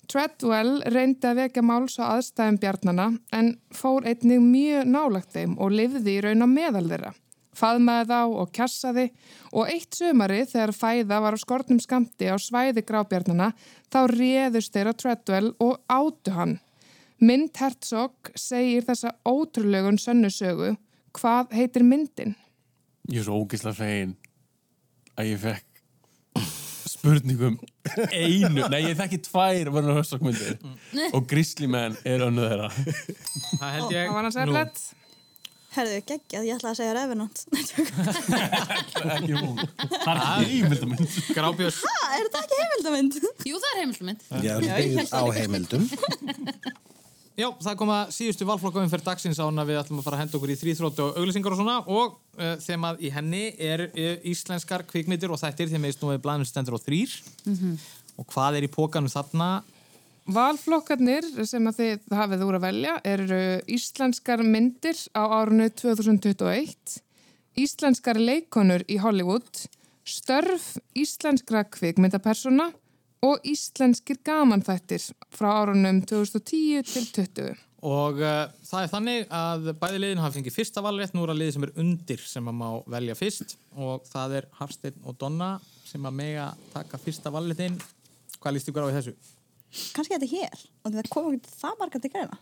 Treadwell reyndi að vekja máls á aðstæðum bjarnana en fór einnig mjög nálagt þeim og lifði í raun á meðal þeirra. Faðmaði þá og kjassaði og eitt sömari þegar fæða var á skortnum skamti á svæði grábjarnana þá réðust þeirra Treadwell og átu hann. Mynd Herzog segir þessa ótrúlegun sönnusögu hvað heitir myndin? Ég er svo ógislega fegin að ég fekk spurningum einu, nei ég þekki tvær Werner Herzog myndir Mm. og Grizzly Man er önnu þeirra það held ég Það var hann sér nú. lett. Herðu, geggjað, ég ætla að segja Revenant. Nei, tjók. ekki hún, það er ekki ímyndamind Grábjörs, Ha, Ah, er þetta ekki heimildamind? Jú, það er heimildmynd. Já, hún er byggð á heimildum já það koma síðustu valflokkum fyrir dagsins ána við ætlum að fara að henda okkur í þrýþrótt og auglýsingar og svona og uh, þemað í henni er uh, íslenskar kvikmyndir og þættir þeim meðist nú við blæðum stendur og þrýr Mhm. og hvað er í pókanum þarna? Valflokkarnir sem að þið hafið úr að velja eru íslenskar myndir á árunni 2021, íslenskar leikonur í Hollywood, störf íslenskra kvikmyndapersona og íslenskir gamanþættir frá árunum 2010 til 2020. Og uh, það er þannig að bæði liðin hafa fengið fyrsta valrétt, nú er að liði sem er undir sem að má velja fyrst og það er Hafsteinn og Donna sem að mega taka fyrsta valréttin. Hvað líst ykkur á í þessu? Kanski þetta er hér, og það kom ekki það margar til greina.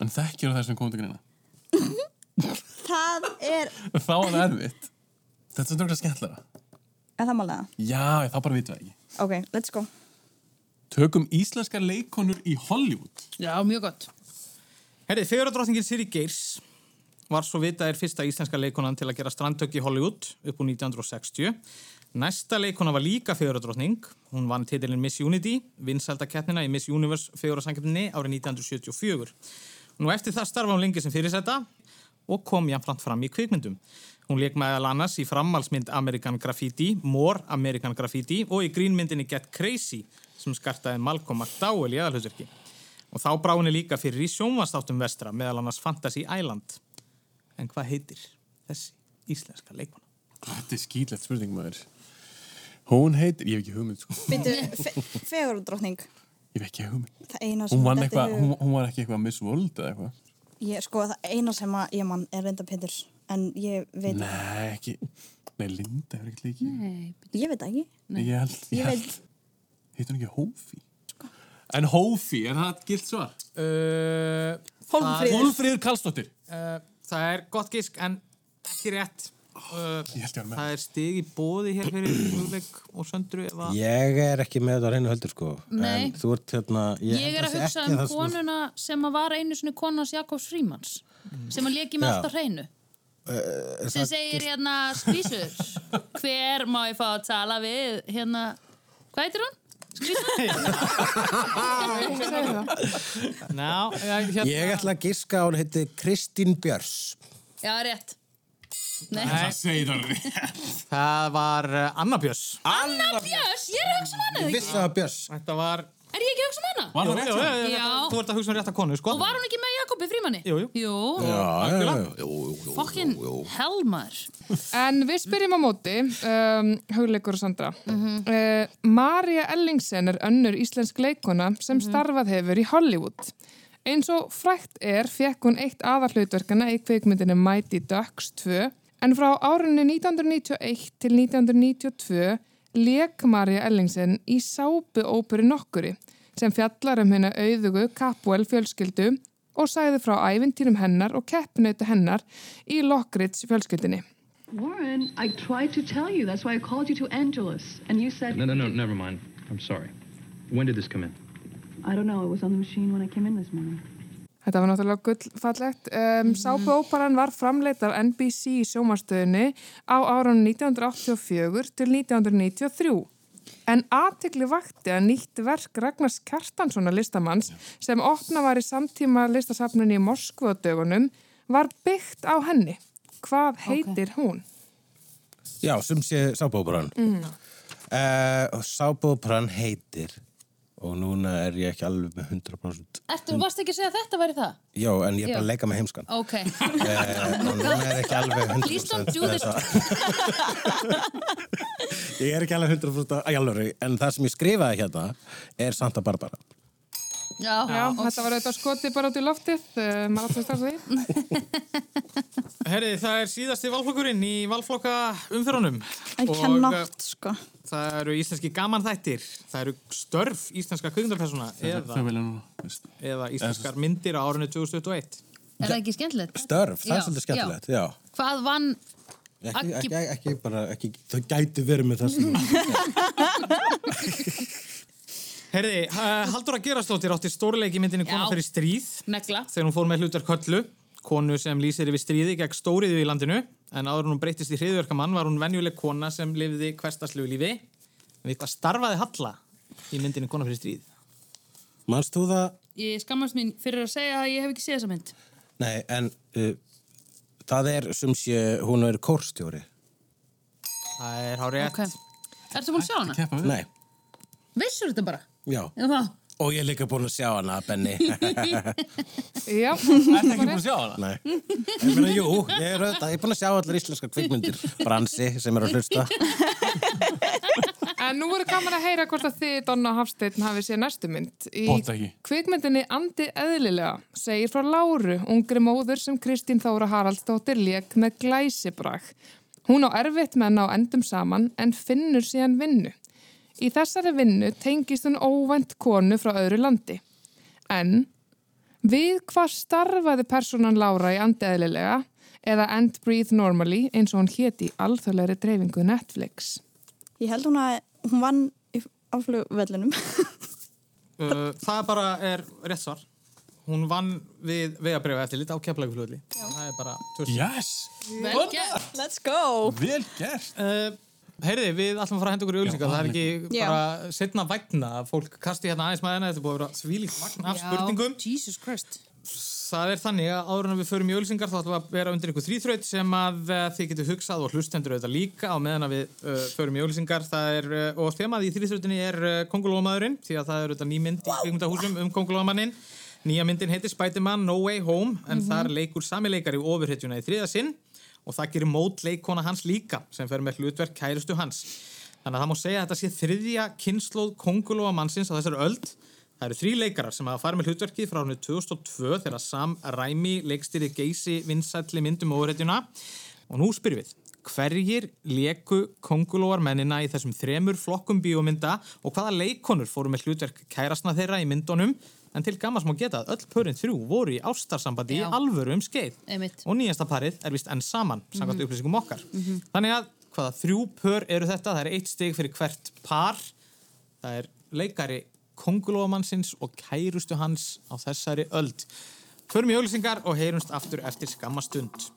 en þekkir það sem kom til greina Það er, þá er það erfitt þetta er svolítið skemmtlara er það málega? já, þá bara vitum við ekki Ok, let's go. tökum íslenskar leikonur í Hollywood Já, mjög gott. Herrið, fegurardrottningin Siri Geirs var svo vitaðir fyrsta íslenska leikonan til að gera strandtök í Hollywood upp úr 1960. Næsta leikona var líka fegurardrottning. Hún vann titilin Miss Unity, vinsældakeppnina í Miss Universe fegurarsankjöfninni árið 1974. Nú eftir það starfa hún lengi sem fyrirsæta og kom jafnframt fram í kvikmyndum. Hún leik meðal annars í framhalsmynd American Graffiti, More American Graffiti og í grínmyndinni Get Crazy sem skartaði Malcolm McDowell í aðalhauðsverki. Og þá brá henni líka fyrir í sjónvastáttum vestra, meðal annars Fantasy Island. En hvað heitir þessi íslenska leikmana? þetta er skýtlegt spurning maður hún heitir, ég hef ekki hugmynd sko. Býtu, fegurudrótning. ég hef ekki hugmynd Það eina sem hún, vann mér dettur í eitthvað, hug- hún, hún var ekki eitthvað Miss World eða eitthvað Ég, sko, það eina sem að ég mann er reynda Pétur, en ég veit, nei, ekki nei, Linda hefur ekkert leikið ég veit það ekki. Ég held, ég Ég held Heitir hún ekki Hófi? En Hófi, er það gilt svar? Uh, Hólmfríður. Uh, Hólfríður Karlsdóttir uh, Það er gott gísk en ekki rétt. Uh, Ég held ég var með það er stig í bóði hér fyrir Hugleik og Söndru ef að... Ég er ekki með þetta á reynu höldur sko Nei. En þú ert hérna Ég er að held hugsa um sé ekki það sko. sem- konuna sem að var einu svona konans Jakobs Frímans sem að leki með Já. Eh, alltaf hreinu sem segir hérna skvísur hver má ég fá að tala við hérna, hvað heitir hún? segir það. Ná, ég- hérna... Ég ætla að gíska að hún heiti Kristín Björs Já, rétt Nei, Það segir það alveg. Það var uh, Anna Björns. Anna Björs, ég er að hugsa um hana Ég eða vissi það var Björs Þetta var... ekki Er ég ekki að hugsa um hana? Var það rétt? hjá mér? já, já. Já. Þú ert að hugsa um rétta konu, sko. Og var hún ekki með Jakobi Frímanni? Jú, jú. Jú, Já, já, já. fokkin helmar En við spyrjum á móti, um, Hugleikur og Sandra. uh, Marja Ellingsen er önnur íslensk leikona sem starfað hefur í Hollywood. Eins og frækt er fekk hún eitt aðarhlautverkana í kveikmyndinu Mighty Ducks 2 en frá árunni 1991 til 1992 leik Marja Ellingsen í sápuóperi nokkuri sem fjallar um hennar auðugu Capwell fjölskyldu og sæði frá ævintýrum hennar og keppinautu hennar í Lockridge fjölskyldinni. Warren, I tried to tell you. That's why I called you to Angelus. And you said, No, no, no, never mind. I'm sorry. When did this come in? I don't know, it was on the machine when I came in this morning. Þetta var náttúrulega gullfallegt. Um, Sápuóparan var framleitt af NBC í sjómanstöðinni á árunum 1984 til 1993. En aðtikli vakti að nýtt verk Ragnars Kjartanssonar listamanns sem opna var í samtíma listasafnunni í Moskvu á dögunum var byggt á henni. Hvað heitir hún? Já, sem sé sábóbrann mm. uh, Sábóbrann heitir Og núna er ég ekki alveg með 100% Ertu, varst ekki að segja að þetta væri það? Já, en ég er bara að leika með heimskan Ok, Eh, og núna er ekki alveg 100% Please don't do this. Ég er ekki alveg 100% í alvöru, en það sem ég skrifaði hérna er Santa Barbara já, Já, þetta var auðvitað skotið bara út í loftið. Uh, maður átti að starfa því. Herri, það er síðasti valflokkurinn í valflokka umfyrunum. I cannot, sko. Það eru íslenski gamanþættir, það eru störf íslenska kvikmyndarpersona eða, Það vilja núna. veist. eða íslenskar myndir á árinu 2021. er það ekki skemmtilegt? Störf, það Já, er svolítið skemmtilegt, já, Hvað vann Ekki, Aggi- ekki, ekki, bara, ekki, þau gætu verið með það sem Herri, uh, Haldur að gerastóttir átti stórleiki í myndinni Kona Já. fyrir stríð negla? þegar hún fór með hlutar köllu, konu sem lýsir yfir stríði gegn stóriðu í landinu en áður en hún breyttist í hriðverkamann var hún venjuleg kona sem lifði hverstaslegu lífi en við hvað starfaði Halla í myndinni Kona fyrir stríð? Manst þú það? Ég skammast mín fyrir að segja að ég hef ekki séð þessa mynd. Nei, en uh, það er sem sé, hún er kórstjóri Það er hárið Ok. Ertu búin að sjá hana? Keppa við. Nei, Vissur þetta bara? já Já, það. Og ég er líka búin að sjá hana, Benni Já, Ertu ekki búin að sjá hana? Nei, ég meina, jú, ég er auðvitað, ég er búin að sjá allar íslenskar kvikmyndir Bransi sem er að hlusta En nú voru gaman að heyra hvort að þið, Donna Hafsteinn, hafi séð næstu mynd. Í Bóta ekki. kvikmyndinni Andi eðlilega segir frá Láru, ungri móður sem Kristín Þóra Haraldsdóttir lék með glæsibrag. Hún á erfitt með að ná endum saman en finnur síðan vinnu. Í þessari vinnu tengist hún óvænt konu frá öðru landi. En við hvað starfaði personan Lára í Andi eðlilega eða End Breathe Normally eins og hún héti í alþjóðleiri dreifingu Netflix? Ég held hún að hún vann í, á flugvellunum. Uh, það bara er rétt svar. Hún vann við vegabriða eftir lít á keflagflöðli. Það er bara tvörs. Yes! Vel gert. Let's go! Vel gert! Uh, Heyriði, við ætlum að fara að henda okkur í auglýsingar. Það er ekki Já. bara setna vægna að fólk kasti hérna aðeins maður en þetta er búið að vera svílíkt magna af spurningum. Jesus Christ. Það er þannig að áður en við förum í auglýsingar þá ætlum við að vera undir einhver þrýþraut sem að uh, þið getur hugsað og hlustendur auðvitað líka á meðan að við uh, förum í auglýsingar. Það er, uh, og þemað í þrýþrautinni er uh, Kongulómaðurinn því að það er auðvitað ný mynd í kvikmyndahúsum um Kongulómaninn. Nýja myndin heitir Spider-Man No Way Home en þar leikur sami leikari ofurhetjuna í þriða sinn og það gerir mót leikona hans líka sem fer með hlutverk kærustu hans. Þannig að það má segja að þetta sé þriðja kynnslóð kongulóa mannsins á þessari öld. Það eru þrý leikarar sem hafa farið með hlutverkið frá hannu 2002 þegar Sam Raimi leikstýri geysi vinsælli myndum ofurhetjuna og nú spyrir við Hverjir leku kongulóar mennina í þessum þremur flokkum bíómynda og hvaða leikonur fóru með hlutverk kærasna þeirra í myndunum en til gammars má geta að öll pörin þrjú voru í ástarsambandi í Já. alvöru um skeið Einmitt. og nýjasta parið er vist enn saman samkvæmt Mhm. upplýsingum okkar Mhm. þannig að hvaða þrjú pör eru þetta það er eitt stig fyrir hvert par það er leikari kongulómannsins og kærustu hans á þessari öld förum í auglýsingar og heyrumst aftur eftir skammastund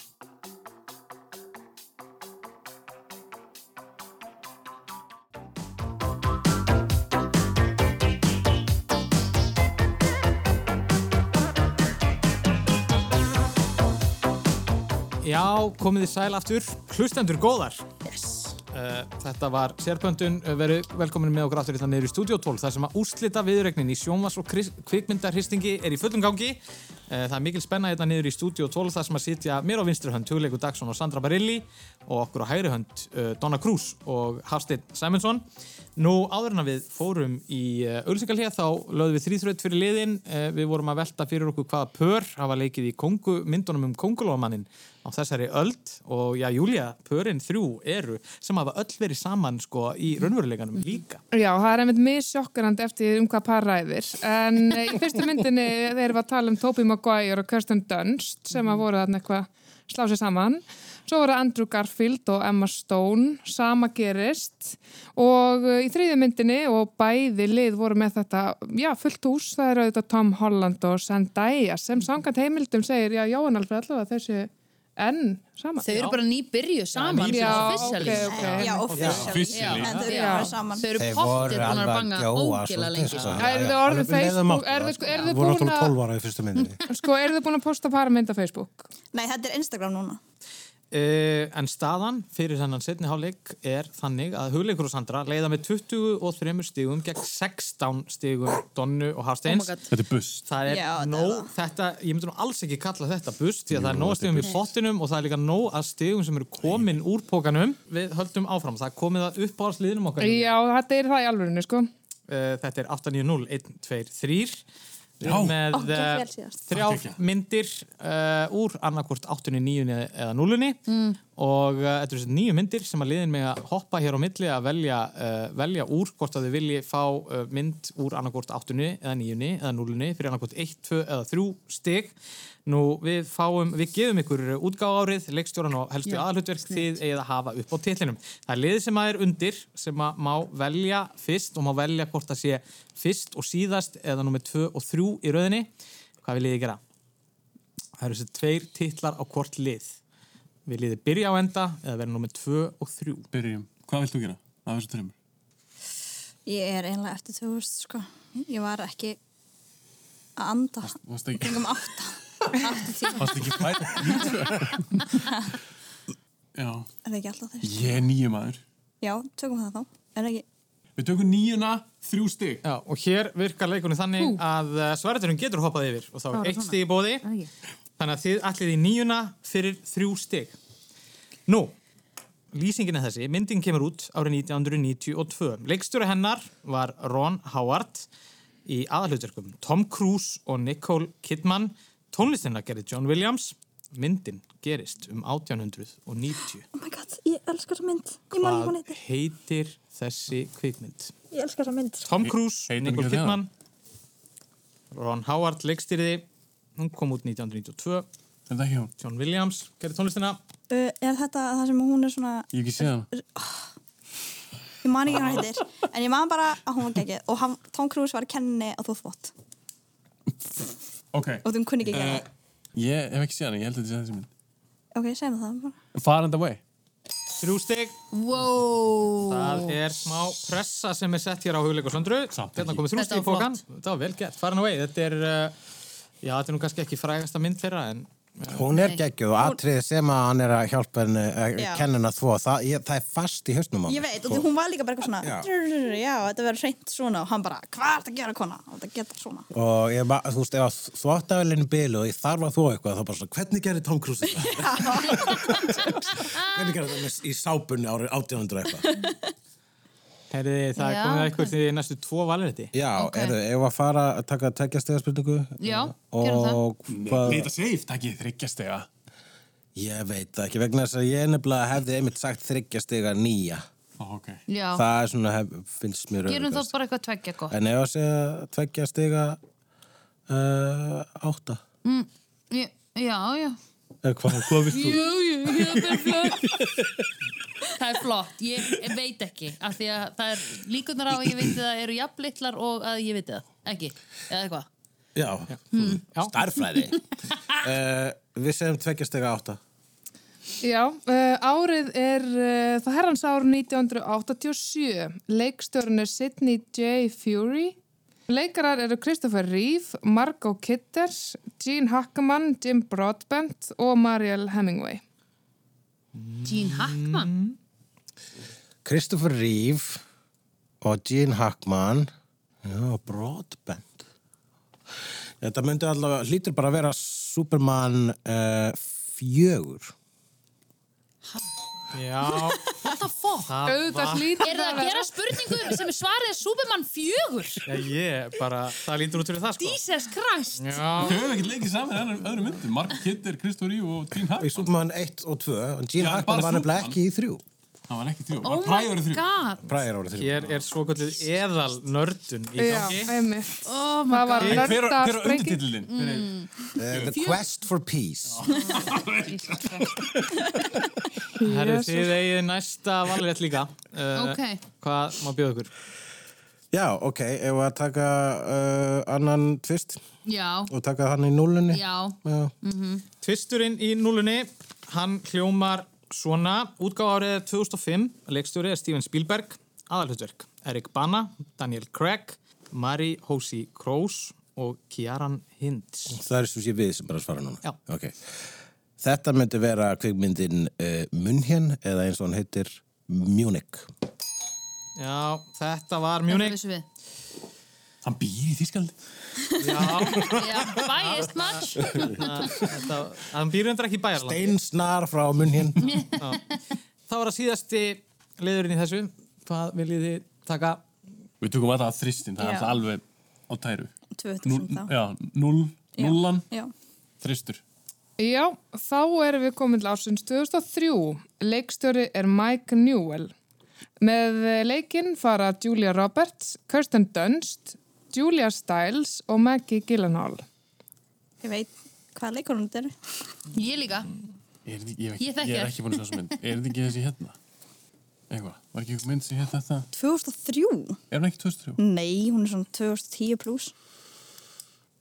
Já, komið þið sæl aftur. Hlustendur góðar. Yes. þetta var sérpöndun. Eh, Verið velkomin með okkur aftur í þannig í Studio 12 þar sem að úrslita viðregnin í sjónvars og kris- kvikmyndarhristingi er í fullum gangi. Eh, það er mikil spenna hérna niður í Studio 12 þar sem að sitja mér á vinstri hönd Hugleiku Dagsson og Sandra Barilli og okkur á hægri hönd eh, Donna Cruz og Hafsteinn Sæmundsson. Nú áður en að við fórum í auðlýsingalíða þá lögðum við þrýþröð fyrir liðin. Eh, Við vorum að velta fyrir okkur hvaða pör hafa leikið í kongu, myndunum um kongulómaninn á þessari öld og já, Júlia, pörin þrjú eru sem hafa öll verið saman sko í raunveruleikanum líka. Já, það er einmitt missjokkarand eftir um hvað par ræðir. En eh, í fyrstu myndinni þeir var að tala um Tobey Maguire og Kirsten Dunst sem Mhm. að voru þarna eitthvað slá sér saman. Svo voru Andrew Garfield og Emma Stone sama gerist og eh, í þriðju myndinni og bæði lið voru með þetta, já, fullt hús, það eru auðvitað Tom Holland og Zendaya sem samkvæmt heimildum segir, já, Jóhann alveg allavega þessu enn saman. Þau eru bara nýbyrju saman Já, officially. ok, ok. Já, officially. Já, En þau eru já. bara saman. Þau eru Þeir pottið búin voru að alveg banga að gjóa ógila svolítið, lengi. sko. Já, eru þið orðið Facebook? Eru þið- eru þið voru búin náttúrulega að- 12 ára í fyrstu myndinni Sko, eru þið búin að posta bara mynd á Facebook? Oh Nei, þetta er Instagram núna. Uh, en staðan fyrir þennan setni hálfleik er þannig að hugleikur og Sandra leiða með 23 stigum gegn 16 stigum Donnu og Hafsteins. Oh my God. Þetta er bust. Það er Já, þetta er nóg, þetta, ég myndi nú alls ekki kalla þetta bust, því að það er nóg að stigum í pottinum og það er líka nóg að stigum sem eru komin úr pókanum. Við höldum áfram, það er komið að uppáhalsliðinum okkar. Já, þetta er það í alvörinu, sko. Uh, þetta er 890 1, 2, 3 Við Já. erum með Ó, gekk eh, vel síðast. þrjár Takk, gekk, myndir uh, úr annarkvort 8, 9 eða 0 og uh, þetta eru þessi nýju myndir sem að liðin með að hoppa hér á milli að velja, uh, velja úr hvort að þau vilji fá uh, mynd úr annarkvort 8 eða 9 eða 0 fyrir annarkvort 1, 2 eða 3 stig Nú við fáum, við gefum ykkur útgáðárið, leikstjóran og helstu Já, aðalhutverk þið eigið að hafa upp á titlinum. Það er liðið sem að er undir sem að má velja fyrst og má velja hvort það sé fyrst og síðast eða nummer 2 og 3 í rauðinni. Hvað vil liðið gera? Það eru þessi tveir titlar á hvort lið. Við liðið byrja á enda eða verið nummer 2 og 3. Byrjum. Hvað vilt þú gera? Af þessu trefum. Ég er einlega eftir 2000, sko. Ég var ekki að anda. varstu ekki- Kringum átta. Átta tíma. Varstu ekki fætt? Já. Er það ekki alltaf þess? Ég er nýju maður. Já, tökum það þá. Er það ekki? Við tökum nýjuna, þrjú stig. Já, og hér virkar leikunni þannig að uh, svareturinn getur hoppað yfir og þá Bara er eitt svona. stig í bóði. Þannig að þið allir í nýjuna fyrir þrjú stig. Nú, lýsingin er þessi. Myndin kemur út árið 1992. Leikstjóri hennar var Ron Howard í aðalhutverkum Tom Cruise og Nicole Kidman. Tónlistina gerði John Williams. Myndin gerist um 1890. Oh my god, ég elskar það mynd. Ég man ekki Hvað hún heitir. heitir þessi kvikmynd? Ég elskar það mynd. Tom Cruise, heitir Nicole hún ekki Kidman Ron Howard leikstýrði hún kom út 1992 John Williams gerði tónlistina Uh, er þetta það sem hún er svona... Ég ekki sé það Ég man ekki hvað hann heitir. En ég man bara að hún var geggið. Og hann, Tom Cruise var að kenni á þóþvott. Ok. Og þú kunni ekki að gera Eh, Ég hef ekki séð hana, ég held að þetta sé þessi mynd. Ok, segjum það bara. Far and Away. Þrjú stig Wow. Það er smá pressa sem er sett hér á hugleik og söndru Þetta komið þrjú Þetta stig í var pókan Þetta var vel gett, farin away Þetta er, uh, já þetta er nú kannski ekki frægasta mynd þeirra en Hún er geggjuð og atriðið sem að hann er að hjálpa henni að Já. kenna henni að þvo það, ég, það er fast í hausnum á Ég mér, veit, sko. og því hún var líka bara eitthvað svona Já. "Drrrr, Já, þetta verður hreint svona og hann bara, hvað er þetta að gera kona? Og þetta geta svona og ég, ma- þú veist, ef þvóttavælinn bilu og ég þarf að þvó eitthvað, þá bara svona, hvernig gerir Tom Cruise þetta? hvernig gerir þetta með- í sábunni árið 1800 eitthvað? Herriði, það er Já, komið að ykkur því næstu tvo valretti Já, okay. erðu, ef að fara að taka tekja stegarspurningu Já, gerum það. og hvað... Þetta safe, takk ég þryggja stega. Ég veit það ekki, vegna þess að ég nefnilega hefði einmitt sagt þryggja stiga nýja. Oh, okay. Já. Það er svona, hef, finnst mér Gerum þá öruggast. bara eitthvað tveggja gott. En ef að segja tveggja stiga uh, átta. Mm, já, já, já. Eða hvað, hvað vilt Jú, þú? jú, jú, það er flott. það er flott, ég veit ekki. Af því að það er líkunar á að ég veit það eru jafnlittlar og að ég veit það. Ekki, eða eitthvað. Já, Mm, Hmm. starfræði. uh, við segjum tveggja stiga átta. Já, uh, árið er uh, það herrans ár 1987. Leikstjórn er Sidney J. Fury. Leikarar eru Christopher Reeve, Margot Kidder, Gene Hackman, Jim Broadbent og Mariel Hemingway. Gene Hackman? Christopher Reeve og Gene Hackman já, Broadband þetta myndi allavega hlýtur bara að vera Superman uh, fjögur Já, What the fuck? Það Auðvitað var- hlýtur Er það það að að gera vera. spurningu sem er svarið er Superman 4? já, ég bara, það lítur út fyrir það sko. Jesus Christ! Þau hefur ekkert leikið saman í öðrum- öðrum myndum. Mark Kidder, Kristóf Ríf og Gene Hackman. í Superman 1 og 2 og Gene Já, Hackman bara var nefnilega Superman. ekki í þrjú Það var ekki þrjú, Oh það var my præður þrjú. god! Prior árið þrjú Hér er svo kallið eðal nördun í Já, gangi. einmitt. Oh my Það var Hver hver nörda var sprengi. undirtillin? uh, The Quest for Peace Herru, Jesus. þið eigið næsta valrétt líka. Uh, Ok. Hvað má bjóða ykkur? já, ok, ef við að taka uh, annan tvist Já, og taka hann í núlunni já. Já. Tvisturinn í núlunni, hann hljómar svona. Útgáð árið er 2005, leikstjóri er Steven Spielberg, aðalhutverk Erik Bana, Daniel Craig, Mari Hósi Kroos og Kjaran Hinds. það er sem sé við sem bara svara núna Já. Ok. þetta myndi vera kvikmyndin uh, Munchen eða eins og hann heitir Munich Já, þetta var Þetta Munich. vissum við. Hann býr í Þískaldi. Já, Já, biased much? þetta, hann býr undir ekki bæjarlag. Einsnar frá Munchen Það var að síðasti liðurinn í þessu. Hvað viljið þið taka? Við tökum alltaf að þristin, það er Já. alltaf alveg á tæru. 2000 Núl, þá. já, núl, núllan, Já. þristur. Já, þá erum við komin til ársins 2003. Leikstjóri er Mike Newell. Með eh, leikinn fara Julia Roberts, Kirsten Dunst, Julia Stiles og Maggie Gyllenhaal. Ég veit hvað leikur hún er. Ég líka. Ég, er- ég, Ég ég, þekki ég er þær. ekki búin að sjá þessu mynd. Er þetta ekki þessi hérna? Eitthvað, var ekki einhver mynd sem hérna þetta? 2003? Er hún ekki 2003? Nei, hún er svona 2010 pluss.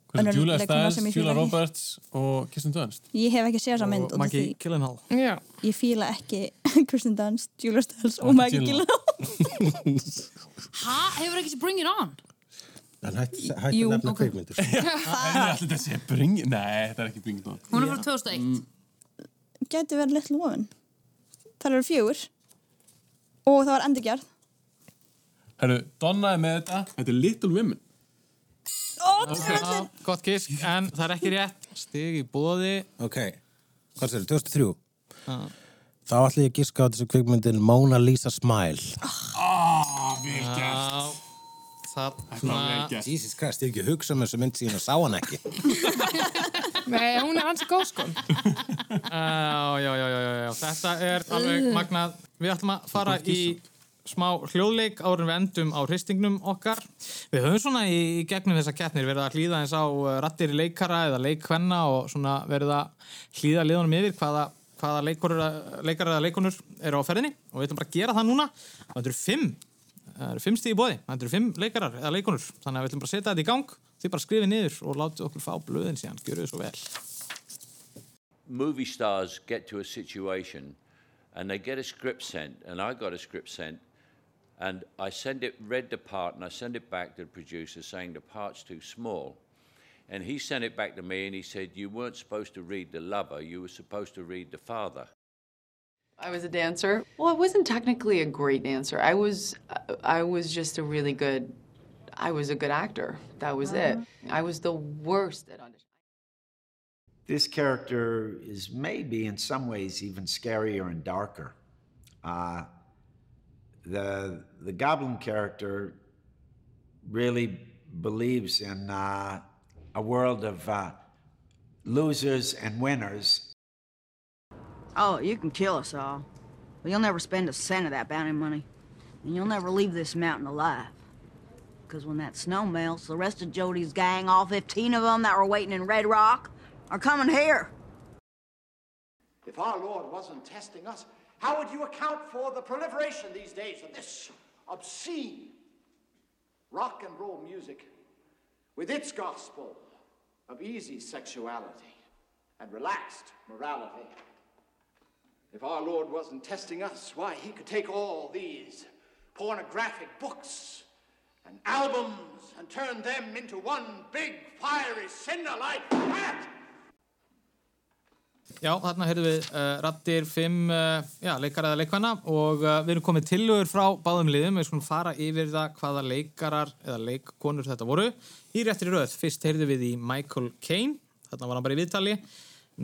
Hvað Önnur er Julia leikkona sem Stiles, ég fíla Julia ekki. Roberts og Kirsten Dunst? Ég hef ekki séð þessa mynd Og út af því. Maggie Gyllenhaal. Já. Ég fíla ekki Kirsten Dunst, Julia Stiles og Maggie Gyllenhaal. Gyllenhaal. Ha, hefur ekki sér Bring It On? hann hætti hætt Jú, nefnilega ok. kvikmyndir Er þetta alltaf þessi bring? Nei, þetta er ekki bring. Dot. Hún er frá Mm. 2001. Gæti verið Little Women. Það eru fjögur. Og það var endurgerð. Herru, Donna er með þetta. Þetta er Little Women. Ó, okay. Já, gott gisk, en það er ekki rétt. Stig í bóði. ok, hvað sér, 2003 þá ætla ég að giska á þessu kvikmyndin Mona Lisa Smile Ah, vel gert. Já, Þetta var þarna... vel gert. Jesus Christ, ég hef ekki hugsað með þessu mynd síðan og sá hann ekki Nei, hún er ansi góð sko. Já, já, já, já, já, já, þetta er alveg magnað. Við ætlum að fara í smá hljóðleik árum við endum á hristingnum okkar. Við höfum svona í, í gegnum þessa keppnir verið að hlýða eins á eh, raddir leikara eða leikkvenna og svona verið að hlýða liðunum yfir hvaða, hvaða leikur, leikara eða leikunur eru á ferðinni og við ætlum bara að gera það núna. Það eru fimm, það eru fimm stíð í bóði, það eru fimm leikarar eða leikunur. Þannig að við ætlum bara að setja þetta í gang, þið bara skrifið niður og látið okkur fá blöðin síðan, gjöru svo vel. movie stars get to a situation and they get a script sent, and I got a script sent, and I send it, read the part, and I send it back to the producer saying the part's too small. And he sent it back to me and he said, You weren't supposed to read the lover, you were supposed to read the father. I was a dancer. Well, I wasn't technically a great dancer. I was I was just a really good I was a good actor. That was it. Ah. I was the worst at audition. This character is maybe in some ways even scarier and darker. Uh, the the goblin character really believes in uh, a world of uh, losers and winners. Oh, you can kill us all. But you'll never spend a cent of that bounty money. And you'll never leave this mountain alive. Because when that snow melts, the rest of Jody's gang, all 15 of them that were waiting in Red Rock, are coming here. If our Lord wasn't testing us, how would you account for the proliferation these days of this obscene rock and roll music with its gospel of easy sexuality and relaxed morality? If our Lord wasn't testing us, why, he could take all these pornographic books and albums and turn them into one big fiery cinder like that! Já, þarna heyrðum við uh, rattir fimm uh, já, leikara eða leikvana og uh, við erum komið tillögur frá báðum liðum við skulum fara yfir það hvaða leikarar eða leikkonur þetta voru í réttri röð, fyrst heyrðum við í Michael Caine þarna var hann bara í viðtali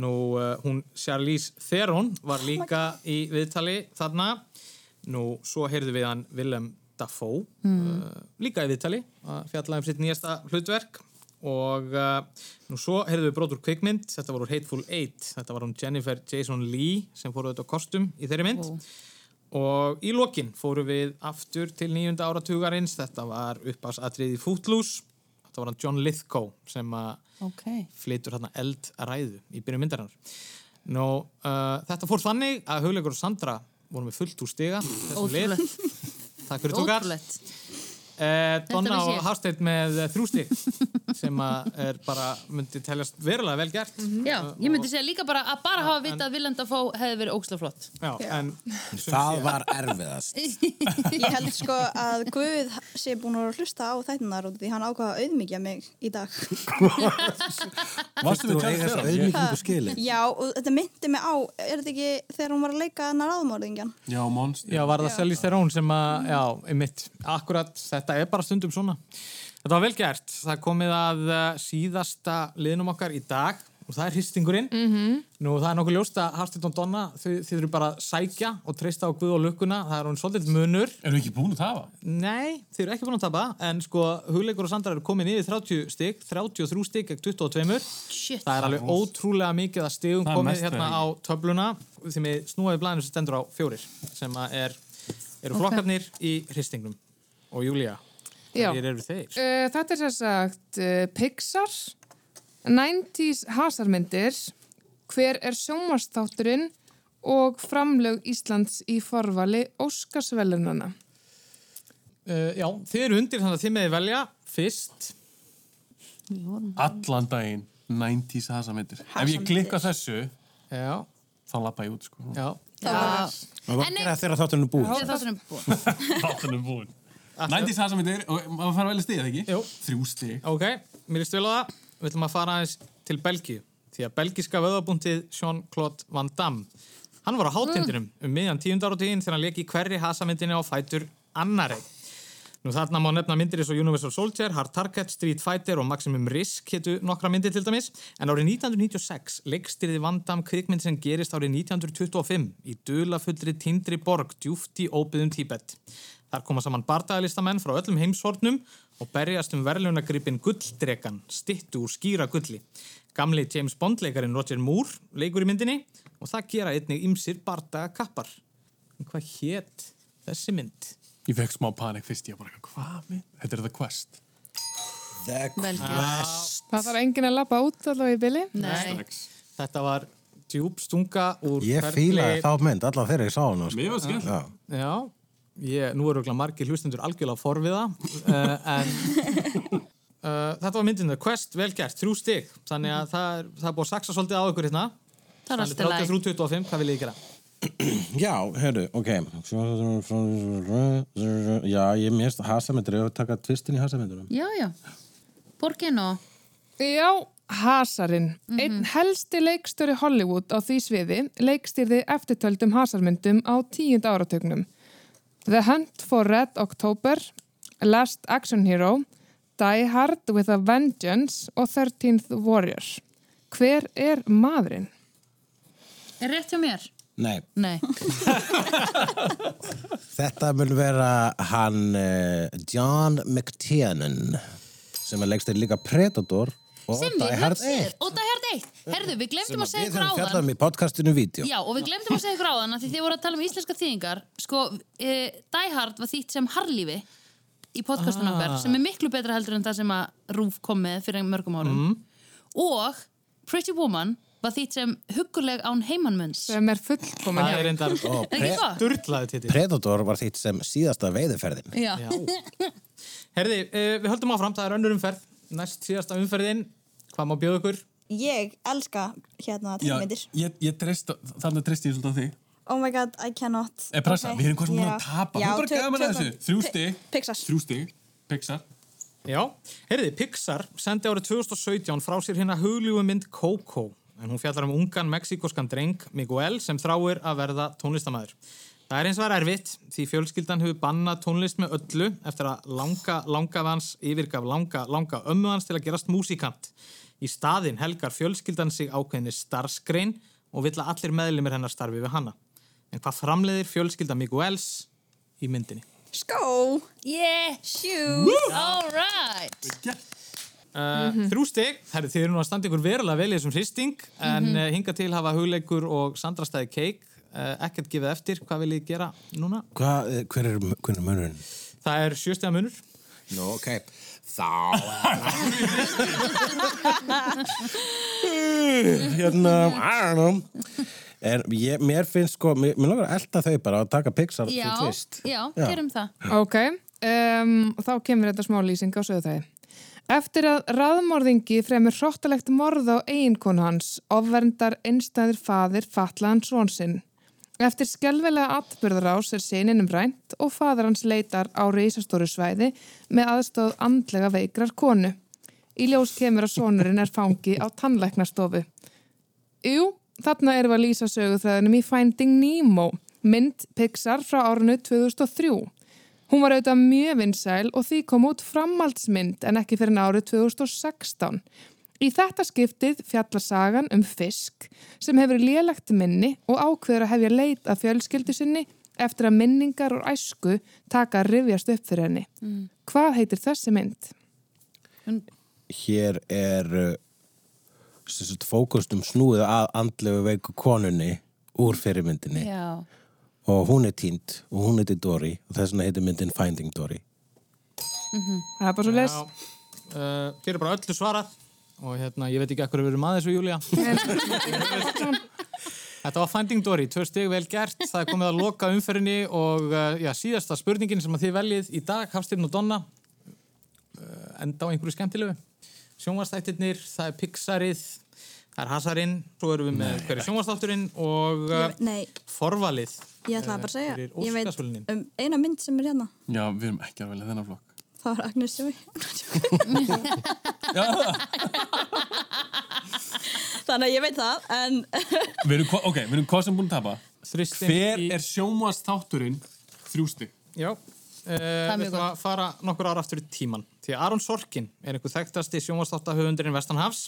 nú uh, hún Charlize Theron var líka í viðtali þarna nú svo heyrðum við hann Willem Dafoe Mm. uh, líka í viðtali að fjalla um sitt nýjasta hlutverk og uh, nú svo heyrðum við brot úr kvikmynd þetta var úr Hateful Eight þetta var hún Jennifer Jason Leigh sem fór auðvitað á kostum í þeirri mynd og í lokin fórum við aftur til nýjunda áratugarins þetta var uppáðsatriði Footloose þetta var hann John Lithgow sem að Ok. flytur hérna eldræðu í byrjun myndarinnar Nú, uh, þetta fór þannig að Hugleikur og Sandra vorum við fullt úr stiga þessum lið. Takk fyrir tókar uh, Donna vissi ég. og Hafsteinn með eh, þrjú stig sem að er bara myndi teljast verulega vel gert Mhm. Já, ég myndi segja líka bara að bara hafa vitað að Willem Dafoe hefði verið óksla flott. Já, en Það var erfiðast. Ég held sko að Guð sé búin að hlusta á þættunar og því hann ákvaða auðmikið mig í dag. Varstu Þú eiga við tjáðið þessa þeirra? auðmýkingu skilið. Já, og þetta myndi mig á, er þetta ekki þegar hún var að leika hennar áðmörðingjan? Já, monster Já, var það Sellis Theron sem að, já, einmitt Akkurat, þetta er bara stundum svona Þetta var vel gert, það er komið að eh, síðasta liðnum okkar í dag og það er hristingurinn Nú, það er nokkuð ljóst að Hafsteinn og Donna þið, þið eru bara að sækja og treysta á Guð og lukkuna það er hún svolítið munur Eru ekki búin að tapa? Nei, þið eru ekki búin að tapa en sko, hugleikur og Sandra eru komin niður í 30 stygg 33 stygg gegn 22 Shit. Það er alveg ótrúlega mikið að stigum Það er komið mest hérna þegar á töfluna því með snúaði blæðinu sem stendur á fjórir sem að er, eru Ok. flokkarnir í hristingnum og Júlia, Já. þér eru þeir Uh, þetta er sér sagt uh, Pixar, 90s hasarmyndir, hver er sjónvarsþátturinn og framlög Íslands í forvali Óskarsvelunana. uh, Já, þið eru undir þannig að þið meði velja fyrst Allan daginn 90s hasamyndir Ef ég klikka þessu Já. þá lappa ég út sko. Já. Já. Það En er þeirra þáttunum Þegar þátturinn er búinn. Þáttunum búin 90s hasamyndir og maður fara velja stig, eða ekki? Jú. Þrjú stig Ok, mér er stil á það Við ætlum að fara aðeins til Belgíu Því að belgiska vöðabúntið Jean-Claude Van Damme Hann Mm. var á hátindinum um miðjan tíundar og tíðin þegar hann leik í hverri hasamyndinni á fætur annari Nú þarna má nefna myndir eins og Universal Soldier, Hard Target, Street Fighter og Maximum Risk hétu nokkra myndir til dæmis en árið 1996 leikstýrði Van Damme kvikmynd sem gerist árið 1925 í dulafullri tindri borg djúft í óbyðum Tíbet. Þar koma saman bardagalistamenn frá öllum heimshornum og berjast um verðlunagripin gulldrekan, stittu úr skýra gulli. Gamli James Bond-leikarinn Roger Moore leikur í myndinni og það gera einnig ymsir bardagakappar. En hvað hétt þessi mynd? Ég fekk smá panik fyrst ég bara Hvað mynd? Þetta er The Quest The Quest Það þarf enginn að lappa út allavega í byli. Þetta var djúbstunga úr Ég fílaði þá mynd, allavega þeirra ég sá hana. sko. Mér var skemmt. Já. Já, ég, nú eru ekki margir hlustendur algjörlega forviða uh, en uh, þetta var myndin The Quest, vel gert, þrjú stig þannig að það er, það er búið að saksa svolítið á ykkur hérna Það er alltaf læg. 33-25, hvað vil ég gera? Já, hörru, ok. Já, ég mérst hasamöndur, ég hef taka tvistin í hasamöndunum. Já, já. Borgin og... Já, hasarinn. Einn helsti leikstöri Hollywood á því sviði leikstýrði eftirtöldum hasarmyndum á tíund áratögnum. The Hunt for Red October, Last Action Hero, Die Hard with a Vengeance og 13th Warrior. Hver er maðurinn? Er rétt hjá mér? Nei, Nei. þetta mun vera hann eh, John McTiernan sem er leggst líka Predator Og sem við Die Hard glömsið 1. og Die Hard 1, herðu við glemdum að segja Við ykkur höfum fjallað áðan um í podcastinu vídeo. já og við glemdum að segja ykkur áðan að því þið voru að tala um íslenska þýðingar sko, e, Die Hard var þýtt sem Harlífi í podcastunum Ah. okkar sem er miklu betra heldur en það sem að Rúf kom með fyrir mörgum árum og Pretty Woman var þýtt sem hugguleg án heimanmunns sem er fullkomin Það er reyndar- Ó, ekki gott? Durlaði titill. Predator var þitt sem síðasta veiðiferðin. Já. Herði, uh, við höldum áfram, það er önnur umferð. Næst síðasta umferðin, hvað má bjóða ykkur? Ég elska hérna teikmyndir. ég, ég treyst, þannig treyst ég svolítið á þig. Oh my god, I cannot. Eh, pressa, Ok, við erum hvort sem ég að á- tapa. Já, Hún bara tö- gaman að þessu. tökum- Þrjú Pi- stig. Pixar. Þrjú stig. Pixar. Já, heyrði, Pixar sendi árið 2017 frá sér hérna hugljúi mynd Coco en hún fjallar um ungan mexikoskan dreng Miguel sem þráir að verða tónlistamæður. Það er eins og verið erfitt því fjölskyldan hefur bannað tónlist með öllu eftir að langa, langa vans yfirgaf langa, langa ömmu hans til að gerast músikant. Í staðinn helgar fjölskyldan sig ákveðinni starfskrein og vill að allir meðlimir hennar starfi við hanna. En hvað framleiðir fjölskylda Miguels í myndinni? Skó! Yeah! Shoes! Alright! Uh, Þrjú stig, herri, þið eru nú að standa ykkur verulega vel í þessum hristing en mm Mhm. hinga til hafa hugleikur og sandrastæði keik uh, ekkert gefið eftir, hvað vil ég gera núna? Hva, eh, hver er, hver er munurinn? Það er sjöstega munur Nú, ok. Þá. hérna, I don't know. En ég, mér finnst sko, mér, mér langar að elta þau bara að taka Pixar Já, til tvist. Já, Já. gerum það Ok, um, og þá kemur þetta smá lýsing á söðu þegi. Eftir að raðmorðingi fremur hróttalegt morð á eiginkonu hans, ofverndar einstæðir faðir fatlaðan són sinn. Eftir skelvelega atbyrðarás er sininum rænt og faðir hans leitar á reisastóru svæði með aðstóð andlega veikrar konu. Í ljós kemur að sonurinn er fangi á tannlæknastofu. Jú, þarna erum við að lýsa sögutræðinum í Finding Nemo, mynd Pixar frá árinu 2003. Hún var auðvitað mjög vinsæl og því kom út framhaldsmynd en ekki fyrir árið 2016. Í þetta skiptið fjallar sagan um fisk sem hefur lélegt minni og ákveður að hefja leit að fjölskyldu sinni eftir að minningar og æsku taka að rifjast upp fyrir henni. Mm. Hvað heitir þessi mynd? Hér er uh, sem sagt, fókustum snúið að andlegu veiku konunni úr fyrirmyndinni Já og hún er týnd og hún heitir Dory og þess vegna heitir myndin Finding Dory. Það er bara svo les. uh, Þér er bara öllu svarað og hérna, ég veit ekki akkur við erum aðeins við Júlia Þetta var Finding Dory, tvö stig vel gert það er komið að loka umferðinni og uh, já, síðasta spurningin sem að þið veljið í dag, Hafstinn og Donna uh, enda á einhverju skemmtilegu sjónvastættirnir, það er Pixarið það er Hasarinn, svo erum við með hverju sjónvastátturinn og uh, Ég- Nei, forvalið ég ætlaði eh, bara að segja. fyrir Ég veit Óskarsverðlaunin. um eina mynd sem er hérna. Já, við erum ekki að velja þennan flokk. Það var Agnes Joy. Þannig að ég veit það, en Við erum, hva- ok, við erum hvað sem búin að tapa. Þristin Hver er sjónvastátturinn þrjústi? Já, uh, er við mjög ætlum að fara nokkur ára aftur í tíman. Því að Aron Sorkin er einhver þekktasti sjónvarstáttahöfundurinn Vestanhafs,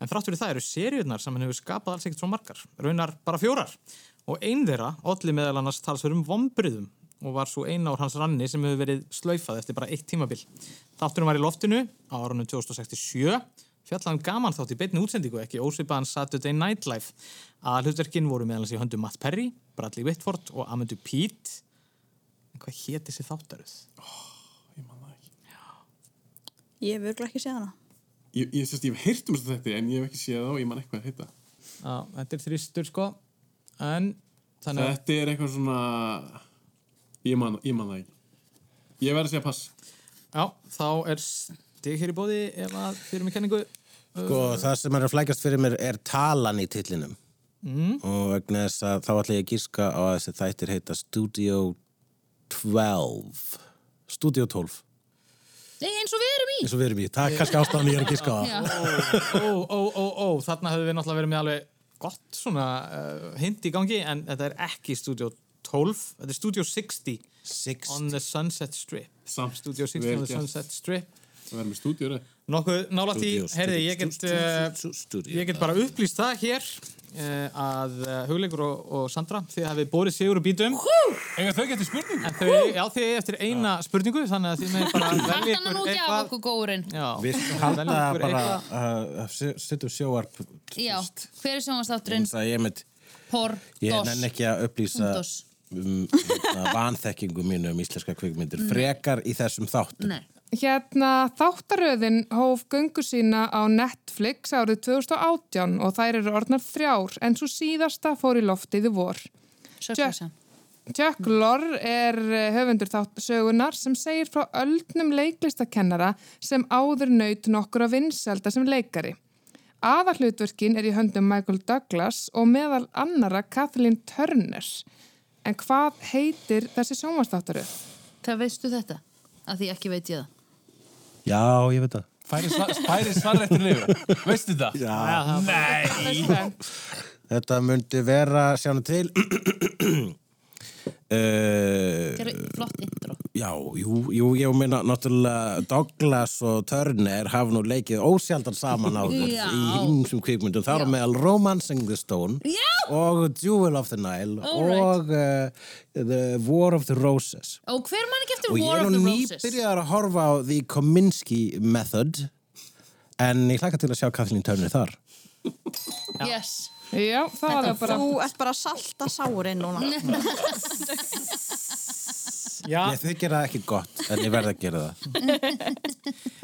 en þrátt fyrir það eru seriurnar sem hann hefur skapað alls ekkert svo margar, raunar bara fjórar. Og ein þeirra, Olli meðal annars talsverum vombriðum og var svo eina úr hans ranni sem hefur verið slaufað eftir bara eitt tímabil. Þátturinn var í loftinu á árunum 2067, fjallaðan um gaman þátt í beinni útsendingu, ekki ósvipaðan Saturday Night Live. Aðalhutverkin voru meðal hans í höndum Matt Perry, Bradley Whitford og Amandu Pete En hvað hétt þessi þáttaröð? ég hef örgulega ekki séð hana. Ég, ég, sérst, ég hef heyrt um þess þetta en ég hef ekki séð þá, ég man eitthvað að heita. Já, þetta er þrýstur sko En þannig að Þetta er eitthvað svona... Ég man, ég man það ekki. Ég verð að segja pass. Já, þá er stig hér í bóði ef að þið eru með kenningu Sko, það sem er að flækast fyrir mér er talan í tillinum mm, og vegna þess að þá ætla ég að gíska á að þessi þættir heita Studio 12 Studio 12 Nei, eins og við erum í eins og við erum í, það er kannski ástæðan ég er að gíska á Já. það Ó, ó, ó, ó, þarna höfum við náttúrulega verið með alveg gott svona uh, hint í gangi en þetta er ekki Studio 12 Þetta er Studio 60 60 On the Sunset Strip Samt, Studio 60 vel on the gert. Sunset Strip Það verður með stúdíu, Nokkuð nálægt í, Studios, heyrði, ég get, studios, eh, ég get bara upplýst það hér eh, að eh, Hugleikur og, og Sandra, þið hafið borið sigur og bítum. Eða þau getur spurningu? En þau, já, þið eigi eftir eina spurningu, þannig að þið með bara velja Hættan hann ykkur nú ekki af eitthvað. okkur góðurinn. Já, Við velja halda ykkur bara eitthvað. uh, að setjum sjóarp Já, hver er sjónvastátturinn? það ég mynd, Por, ég dos. nenn ekki að upplýsa Puntos. um, hérna, vanþekkingu mínu um íslenska kvikmyndir frekar í þessum þáttum Mm. Nei. Hérna þáttaröðin hóf göngu sína á Netflix árið 2018 og þær eru orðnar þrjár en svo síðasta fór í loftið í vor. Jack- Jack Lorr er eh, höfundur þátt sögunar sem segir frá öldnum leiklistakennara sem áður naut nokkur að vinselda sem leikari. Aðallutverkin er í höndum Michael Douglas og meðal annara Kathleen Turner. En hvað heitir þessi sjónvastáttaröð? Það veistu þetta? Að því ekki veit ég það. já, ég veit það Færi svar- færi svarréttur yfir. Veistu það? Já. Nei! þetta myndi vera sjána til uh, Gerðu flott intro. já, jú, jú ég minna náttúrulega Douglas og Turner hafa nú leikið ósjaldan saman áður Já. í hinsum kvikmyndum, þar á meðal Romancing the Stone Já. og Jewel of the Nile og uh, The War of the Roses Og hver mann ekki eftir og ég War er of nú the Roses? nýbyrjar að horfa á The Kominsky Method en ég hlakka til að sjá Kathleen Turner þar Yes. Já, það Þetta- var bara- Þú ert bara að salta sárin núna. Já. Ah. Nei, þau gera það ekki gott, en ég verð að gera það.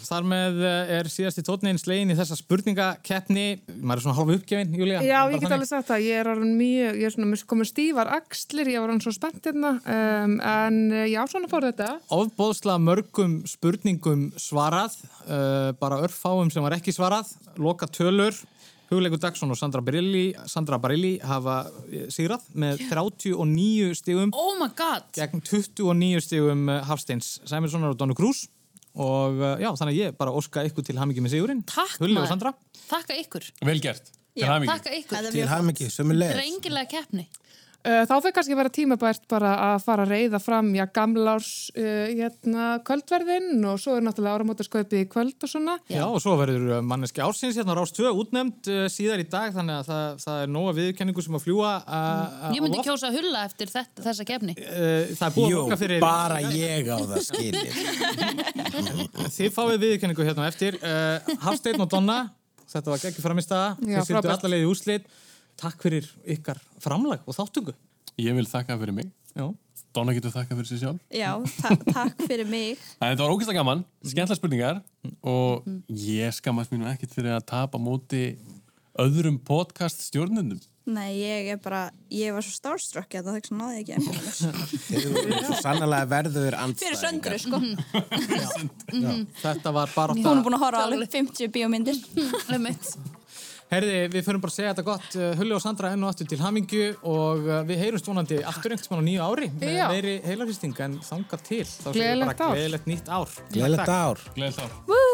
Þar með eh, er síðasti tótnin slegin í þessa spurningakeppni. Maður er svona hálf uppgefin, Júlia. Já, Bara ég get þannig. alveg sagt það, ég er orðin mjög, ég er svona komin stífar axlir, ég var orðin svo spennt hérna, um, en eh, já, svona fór þetta. ofbóðslega mörgum spurningum svarað, uh, bara örfáum sem var ekki svarað, loka tölur, Hugleikur Dagsson og Sandra Barilli, Sandra Barilli hafa eh, sigrað með 39 stigum Oh my god! gegn 29 stigum eh, Hafsteins Sæminssonar og Donu Krús og eh, já, þannig að ég bara óska ykkur til hamingi með sigurinn. Takk Hugleikur maður. Sandra. Þakka ykkur. Vel gert. Já, hamingju. þakka ykkur. Það er mjög hamingi, Drengilega keppni. Uh, þá fyrir kannski vera tímabært bara að fara að reyða fram, já, gamlárs uh, hérna, kvöldverðin og svo er náttúrulega áramótarskaupið í kvöld og svona. Já, og svo verður manneski ársins hérna Rás 2 útnefnd uh, síðar í dag þannig að það, það er nóga viðurkenningu sem að fljúa uh, Mm. Ég myndi kjósa að hulla eftir þetta, þessa keppni. Uh, það er búið að Jú, boka fyrir bara ég á það skilið. Þið fáið viðkenningu hérna á eftir uh, Hafsteinn og Donna Þetta var ekki framistæða Já, Þið sýttu frábært. allarleið í úslit Takk fyrir ykkar framlag og þáttungu Ég vil þakka fyrir mig. Já. Donna getur þakka fyrir sig sjálf. Já, ta takk fyrir mig. En þetta var ógeðslega gaman, skemmtla spurningar og Mm. ég skammast mínum ekkert fyrir að tapa móti öðrum podcast stjórnendum. Nei, ég er bara, ég var svo starstruck að það þekst náði ég ekki enn. Þið eru svo sannlega verður andstæðingar. Fyrir söndru, sko. Mhm. Þetta var bara Hún er búin að horfa á alveg 50 bíómyndir. Herði, við förum bara að segja þetta gott uh, Hulli og Sandra enn og aftur til hamingju og uh, við heyrumst vonandi aftur einhvers mann á nýju ári með Já. meiri heilarhristing en þangað til þá séum við Gleðilegt bara ár. gleðilegt nýtt ár Gleðilegt Takk. ár. Gleðilegt ár Woo!